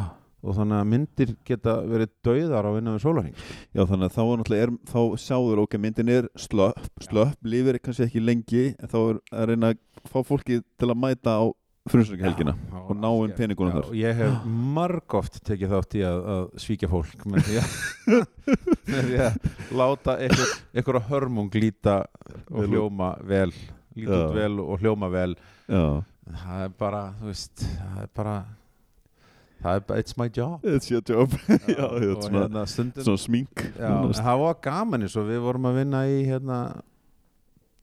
Speaker 2: og þannig að myndir geta verið dauðar á vinna við sólarhing
Speaker 1: já, þannig að þá er náttúrulega er, þá sjáður ok, myndin er slöpp, slöpp lífir er kannski ekki lengi en þá er að reyna að fá fólki til að mæta á frumsökhelgina og ná um peningunum þar.
Speaker 2: og ég hef margóft tekið þátt í að, að svíkja fólk með því
Speaker 1: *laughs*
Speaker 2: að, með því að láta einhver, einhverja hörmung líta og
Speaker 1: Vel út.
Speaker 2: hljóma vel líta
Speaker 1: Já.
Speaker 2: út vel og hljóma vel
Speaker 1: Já,
Speaker 2: það er bara, þú veist það er bara það er bara, it's my job
Speaker 1: it's your job *laughs* Já,
Speaker 2: og
Speaker 1: já, svona-
Speaker 2: hérna stundum
Speaker 1: Svona smink
Speaker 2: já, en það var gaman eins og við vorum að vinna í hérna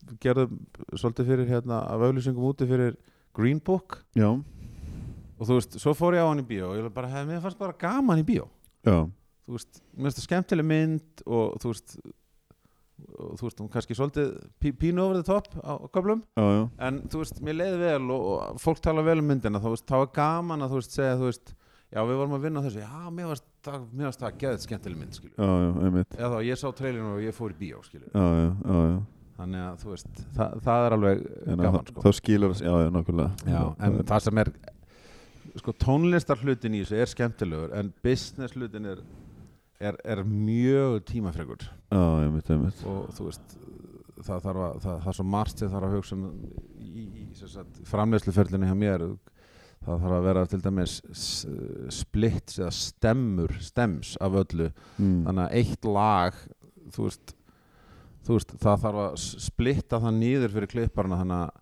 Speaker 2: við gerðum svolítið fyrir hérna af auðlýsingum úti fyrir Green Book
Speaker 1: já,
Speaker 2: og þú veist, svo fór ég á hann í bíó og ég var bara, hef, mér fannst bara gaman í bíó
Speaker 1: já,
Speaker 2: þú veist, mér finnst það skemmtileg mynd og þú veist og þú veist, hún kannski svolítið pí- pínu over the top á köflum
Speaker 1: já, já
Speaker 2: en þú veist, mér leiði vel og, og fólk tala vel um myndina þá, veist, þá er gaman að þú veist segja þú veist, já við vorum að vinna á þessu já, mér varst það, mér varst það geðið skemmtileg mynd skilju.
Speaker 1: Já, já, einmitt
Speaker 2: eða þá ég sá trailinu og ég fór í bíó skilju.
Speaker 1: Já, já, já, já
Speaker 2: þannig að þú veist, það, það er alveg
Speaker 1: En að
Speaker 2: gaman
Speaker 1: það-
Speaker 2: sko.
Speaker 1: Þá skilur það, já, já, nákvæmlega
Speaker 2: já, en það sem er sko tónlistar hlutin í þessu er skemmtilegur en business hlutin er er, er mjög tímafregur
Speaker 1: Já, einmitt, einmitt
Speaker 2: og þú veist það, þarf að, það, það er svo margt sem þarf að hugsa um í, í sem sagt, framleiðsluferlinu hjá mér það þarf að vera til dæmis s- splits eða stemmur stems af öllu
Speaker 1: mm.
Speaker 2: þannig að eitt lag þú veist, þú veist það þarf að s- splitta það nýður fyrir klipparna þannig að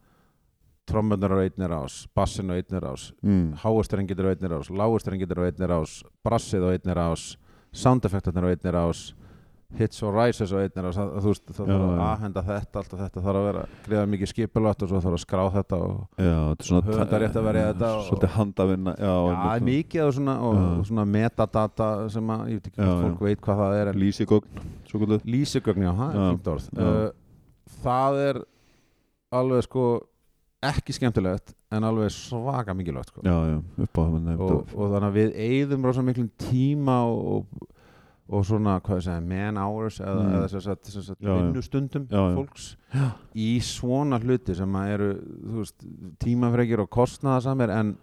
Speaker 2: trommunar eru einnir ás, bassin eru einnir ás
Speaker 1: Mm.
Speaker 2: háustrengir eru einnir ás, lágustrengir eru einnir ás brassið eru einnir ás soundeffektarnir eru einnir ás hits og rises eru einnir ás það, þú veist, það
Speaker 1: Já,
Speaker 2: þarf að
Speaker 1: já.
Speaker 2: aðhenda þetta allt og þetta þarf að vera greiða mikið skipulagt og svo þarf að skrá þetta og
Speaker 1: Já, þetta er svona eh,
Speaker 2: Höfundarétt að verja þetta og-
Speaker 1: Svolítið handavinna Já,
Speaker 2: Já, það er
Speaker 1: einmitt.
Speaker 2: mikið og svona, og,
Speaker 1: Já.
Speaker 2: og svona metadata sem að, ég veit ekki hvort
Speaker 1: Já, já.
Speaker 2: fólk veit hvað það er en
Speaker 1: Lýsigogn, svo kvöldu
Speaker 2: lýsugögn, já, Uh, það er
Speaker 1: Já,
Speaker 2: fínt orð
Speaker 1: já.
Speaker 2: uh, það er alveg sko ekki skemmtilegt en alveg svaka mikilvægt sko.
Speaker 1: já, já, upp á það
Speaker 2: og, og þannig að við eigðum rosa miklum tíma og, og, og svona hvað ég segja, man hours eða,
Speaker 1: Mm.
Speaker 2: eða sem sagt, sem sagt,
Speaker 1: Já, já.
Speaker 2: vinnustundum
Speaker 1: Já, já.
Speaker 2: fólks í svona hluti sem að eru þú veist, tímafrekir og kostnaðasamir en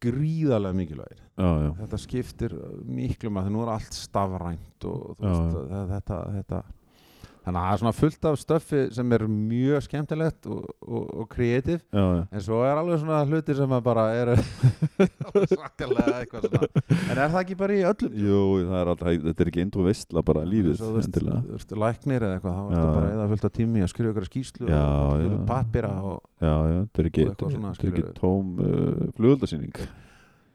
Speaker 2: gríðarlega mikilvægir
Speaker 1: já, já,
Speaker 2: þetta skiptir uh, miklu maður, nú er allt stafrænt og þú
Speaker 1: Já,
Speaker 2: veist,
Speaker 1: já.
Speaker 2: að þetta, þetta þannig að það er svona fullt af stöffi sem er mjög skemmtilegt og, og, og kreatív
Speaker 1: já, já.
Speaker 2: En svo er alveg svona hlutir sem að bara eru *laughs* svakalega eitthvað svona En er það ekki bara í öllum?
Speaker 1: Jú, það er alltaf, þetta er ekki endur veistla bara lífið,
Speaker 2: Svo, þú veist,
Speaker 1: endilega
Speaker 2: þú veist, Læknir eða eitthvað, þá
Speaker 1: Já,
Speaker 2: ertu bara
Speaker 1: já.
Speaker 2: eða fullt af tími að skrifa ykkur skýslu
Speaker 1: Já,
Speaker 2: og
Speaker 1: já.
Speaker 2: pappira og
Speaker 1: Já, já, þetta er ekki,
Speaker 2: Og eitthvað svona,
Speaker 1: þetta er ekki
Speaker 2: skilurðu.
Speaker 1: tóm uh, flugöldasýning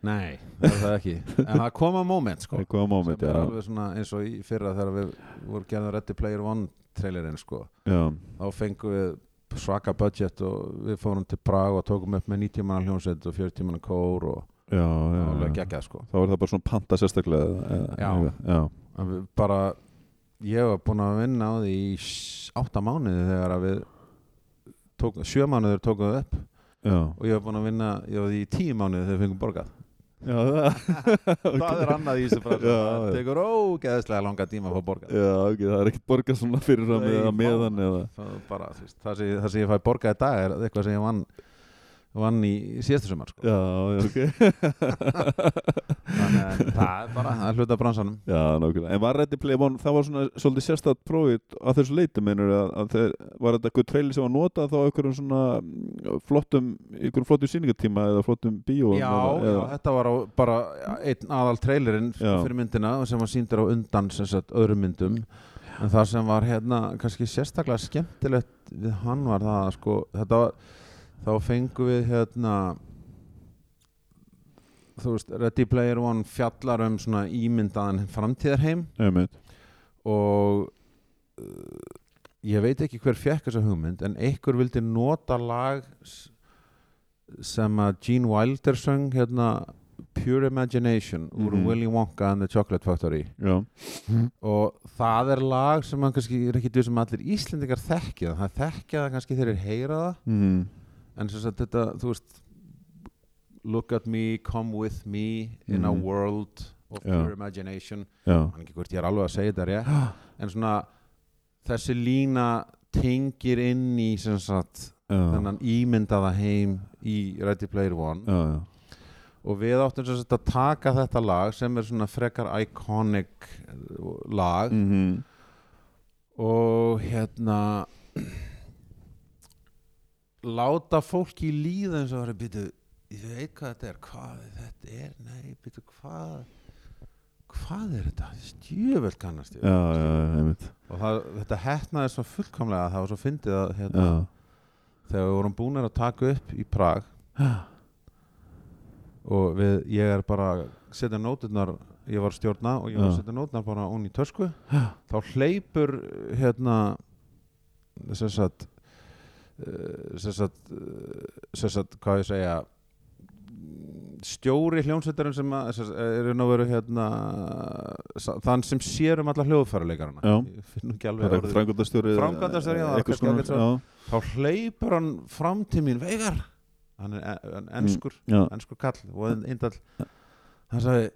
Speaker 2: Nei, það er það ekki En það koma moment
Speaker 1: *laughs*
Speaker 2: sko
Speaker 1: Eitthvað á moment,
Speaker 2: sem er
Speaker 1: já,
Speaker 2: alveg svona eins og í fyrra þegar við vorum gerðum Ready Player One trailerinn sko
Speaker 1: já,
Speaker 2: þá fengum við svaka budget og við fórum til Prag og tókum upp með 90 manna hljónsett og 40 manna kór og
Speaker 1: já, já,
Speaker 2: alveg
Speaker 1: já.
Speaker 2: geggjað sko
Speaker 1: Þá er það bara svona panta sérstaklega eða-
Speaker 2: Já.
Speaker 1: eða- já,
Speaker 2: að við bara ég var búinn að vinna á því í s- átta mánuði þegar að við tók, sjö mánuður tókum við upp
Speaker 1: já,
Speaker 2: og ég var búinn að vinna ég var því í tíu mánuði þegar við fengum
Speaker 1: *laughs*
Speaker 2: borgað
Speaker 1: já það,
Speaker 2: *laughs* það er annað í þessu frá
Speaker 1: Já,
Speaker 2: það
Speaker 1: já.
Speaker 2: tekur ógeðslega langa tíma að fá borgað
Speaker 1: já, ok, það er ekkert borgað svona fyrir fram
Speaker 2: Nei,
Speaker 1: eða
Speaker 2: vá.
Speaker 1: meðan eða
Speaker 2: það, er bara, þú veist, það, sem, það sem ég fæ borgað í dag er eitthvað sem ég vann vann í síðastu sumar sko.
Speaker 1: Já, já, ok
Speaker 2: þannig að það er bara það er hluta bransanum
Speaker 1: Já, nákvæmlega, en var Ready Player One, það var svona svolítið sérstætt prófið að þessu leiti meinur að, að þeir, var þetta eitthvað trailer sem var notað þá á einhverjum svona mm, flottum, einhverjum flottum sýningatíma eða flottum bíó
Speaker 2: já, já, þetta var á, bara einn aðal trailerinn
Speaker 1: Já.
Speaker 2: fyrir myndina sem var síndur á undan sem sagt, öðrum myndum en það sem var hérna kannski sérstaklega skemmtilegt við hann var það að, sko, þetta var, þá fengum við hérna þú veist, Ready Player One fjallar um svona ímyndaðan framtíðarheim
Speaker 1: Einmitt.
Speaker 2: og uh, ég veit ekki hver fekk þessa hugmynd en einhver vildi nota lag s- sem að Gene Wilder söng hérna Pure Imagination úr
Speaker 1: Mhm.
Speaker 2: Willy Wonka and the Chocolate Factory
Speaker 1: Já,
Speaker 2: og það er lag sem mann kannski er ekki því sem allir Íslendingar þekkja það þekkja það kannski þeir eru heyra það
Speaker 1: mm.
Speaker 2: en sem sagt þetta, þú veist Look at me, come with me in a
Speaker 1: Mhm.
Speaker 2: world of
Speaker 1: Já.
Speaker 2: pure imagination
Speaker 1: já,
Speaker 2: man ekki hvort ég er alveg að segja þetta rétt en svona þessi lína tengir inn í sem sagt
Speaker 1: já
Speaker 2: þennan ímyndaða heim í Ready Player One
Speaker 1: Já, já,
Speaker 2: og við áttum sem sagt að taka þetta lag sem er svona frekar iconic eh, lag
Speaker 1: mhm,
Speaker 2: og hérna láta fólki líða eins og það er býtu ég veit hvað þetta er, hvað þetta er nei, býtu hvað hvað er þetta, stjöfell kannast ég við
Speaker 1: já, já, einmitt
Speaker 2: og það, þetta hettnaði svo fullkomlega það var svo fyndið að hérna,
Speaker 1: Já,
Speaker 2: þegar við vorum búinir að taka upp í Prag og við, ég er bara að setja nóturnar, ég var að stjórna og ég var að
Speaker 1: Já.
Speaker 2: setja nóturnar bara ón í tösku þá hleypur hérna sem sagt eh, sem sagt eh, sem sagt, hvað ég segja stjóri hljónsveitarinn sem að, sem sagt, er nú veru hérna sa- þann sem sér um alla hljóðfæruleikarana
Speaker 1: Já.
Speaker 2: ég finn nú ekki
Speaker 1: það
Speaker 2: alveg
Speaker 1: er
Speaker 2: orðið
Speaker 1: frangöndastjóri
Speaker 2: Framkvæmdastjóri, já,
Speaker 1: eitthvað
Speaker 2: kannski ágætt
Speaker 1: svona Já,
Speaker 2: þá hleypur hann fram til mín veigar hann er en, enskur,
Speaker 1: já,
Speaker 2: enskur kall og en- indall hann sagði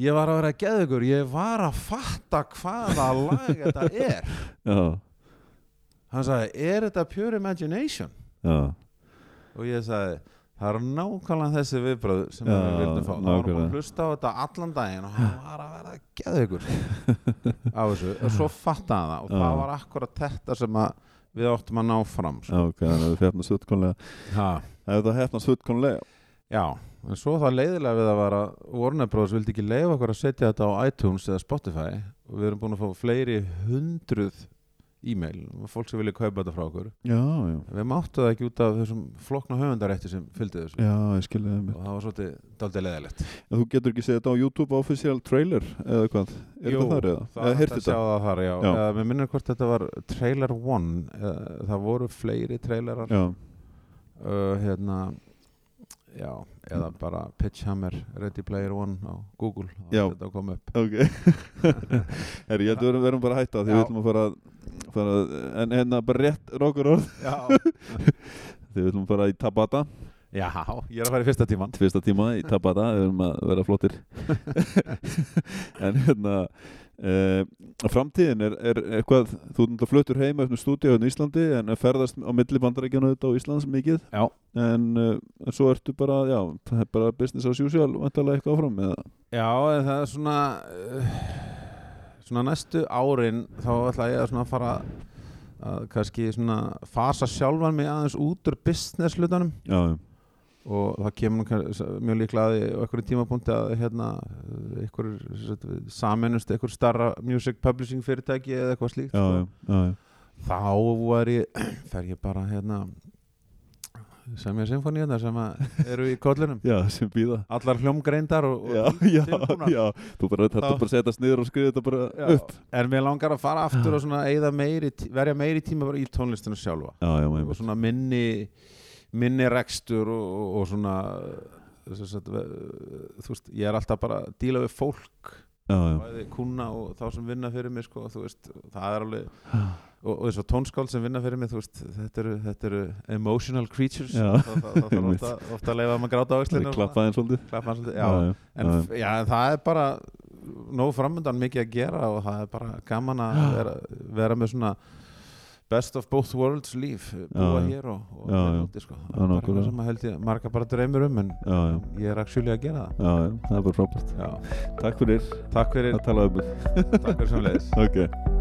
Speaker 2: ég var að vera að geða ykkur ég var að fatta hvaða lag þetta er
Speaker 1: já,
Speaker 2: hann sagði er þetta pure imagination
Speaker 1: já
Speaker 2: og ég sagði það eru nákvæmlega þessi viðbröð sem
Speaker 1: Já,
Speaker 2: við vildum fá það var búin
Speaker 1: nákvæmlega.
Speaker 2: að hlusta á þetta allan daginn og hann var að vera að geða ykkur á þessu og svo fatta hann það og
Speaker 1: Já.
Speaker 2: það var akkurat þetta sem að við áttum að ná fram sko.
Speaker 1: Já, ok, þannig að það hefnast fullkonlega
Speaker 2: ha.
Speaker 1: Það hefði það hefnast fullkonlega
Speaker 2: Já, en svo það leiðilega við að vera Warner Bros. vildi ekki leiða okkur að setja þetta á iTunes eða Spotify og við erum búin að fá fleiri hundruð e-mail, fólk sem vilja kaupa þetta frá okkur
Speaker 1: Já, já,
Speaker 2: Við máttu það ekki út af þessum flokna höfundarætti sem fylgdi þessu
Speaker 1: já, ég skilja það mér
Speaker 2: og það var svolítið daldið leiðilegt
Speaker 1: Þú getur ekki séð þetta á YouTube official trailer eða hvað, er
Speaker 2: Jú,
Speaker 1: þetta þar eða?
Speaker 2: Það
Speaker 1: eða
Speaker 2: er
Speaker 1: heyrti
Speaker 2: að sjá
Speaker 1: þetta?
Speaker 2: það þar, já,
Speaker 1: Já.
Speaker 2: já. Mér minnir hvort þetta var Trailer One eh, það voru fleiri trailerar
Speaker 1: Já,
Speaker 2: uh, hérna Já, eða bara Pitch Hammer Ready Player One á Google þá
Speaker 1: Já.
Speaker 2: er Þetta kom upp
Speaker 1: *laughs* ok Herri, ég held að við verum bara að hætta því
Speaker 2: Já.
Speaker 1: við ætlum að fara að bara, en hérna bara rétt nokkur orð
Speaker 2: *laughs* Já,
Speaker 1: þegar við viljum bara í Tabata
Speaker 2: já, ég er að fara í fyrsta tíman
Speaker 1: fyrsta tíma
Speaker 2: *laughs*
Speaker 1: í Tabata við viljum að vera flottir en hérna uh, framtíðin er, er eitthvað þú erum þetta fluttur heima eftir stúdíu hérna í Íslandi en ferðast á milli bandarækjana auðvitað á Íslands mikið
Speaker 2: Já.
Speaker 1: en, uh, en svo ertu bara, já, það er bara business as usual, vantarlega eitthvað áfram eða
Speaker 2: Já, en það er svona eh, svona næstu árin þá ætla ég að svona fara að kannski svona fasa sjálfan mig aðeins út úr business hlutanum
Speaker 1: já,
Speaker 2: og það kemur nú kann- mjög líklega að því á einhverjum tímapunkti að hérna einhver saminust einhver starra music publishing fyrirtæki eða eitthvað slíkt sko.
Speaker 1: já, já, já, já.
Speaker 2: þá var ég *clears throat* fer ég bara hérna sem ég symfóni hérna sem að eru í kollunum
Speaker 1: já, sem býða
Speaker 2: allar hljómgreindar og,
Speaker 1: já,
Speaker 2: og
Speaker 1: já,
Speaker 2: tilbúnar.
Speaker 1: já, þú bara þetta bara setast niður og skrifa þetta bara
Speaker 2: Já,
Speaker 1: upp
Speaker 2: en mér langar að fara aftur og svona eyða meiri, tí- verja meiri tíma bara í tónlistinu sjálfa
Speaker 1: já, já,
Speaker 2: og
Speaker 1: mæmi,
Speaker 2: svona minni minni rekstur og, og, og svona eh, þess að, eh, þú veist, ég er alltaf bara að díla við fólk
Speaker 1: já, já,
Speaker 2: bæði kuna og þá sem vinna fyrir mig sko, þú veist, það er alveg og, og þess að tónskáld sem vinna fyrir mig þú veist, þetta, eru, þetta eru emotional creatures
Speaker 1: Já,
Speaker 2: þá þá-
Speaker 1: *laughs*
Speaker 2: þá þarf ofta, ofta að leifa að maður gráta á
Speaker 1: það
Speaker 2: öxlina og svona.
Speaker 1: klappaði eins svolítið
Speaker 2: klappa hans svolítið,
Speaker 1: já,
Speaker 2: já,
Speaker 1: já,
Speaker 2: En
Speaker 1: Já.
Speaker 2: f- já, en það er bara nóg framöndan mikið að gera og það er bara gaman að vera, vera með svona best of both worlds líf búa
Speaker 1: já.
Speaker 2: hér og, og
Speaker 1: Já,
Speaker 2: hérna
Speaker 1: já.
Speaker 2: úti, sko.
Speaker 1: Já,
Speaker 2: það er bara
Speaker 1: nákvæmlega.
Speaker 2: eitthvað sem að held ég marga bara dreymir um en
Speaker 1: já, já,
Speaker 2: ég er aksjúli að gera
Speaker 1: já, já, það er bara frábært
Speaker 2: það já.
Speaker 1: takk fyrir
Speaker 2: Takk fyrir,
Speaker 1: að tala um þetta
Speaker 2: takk fyrir samleiðis
Speaker 1: ok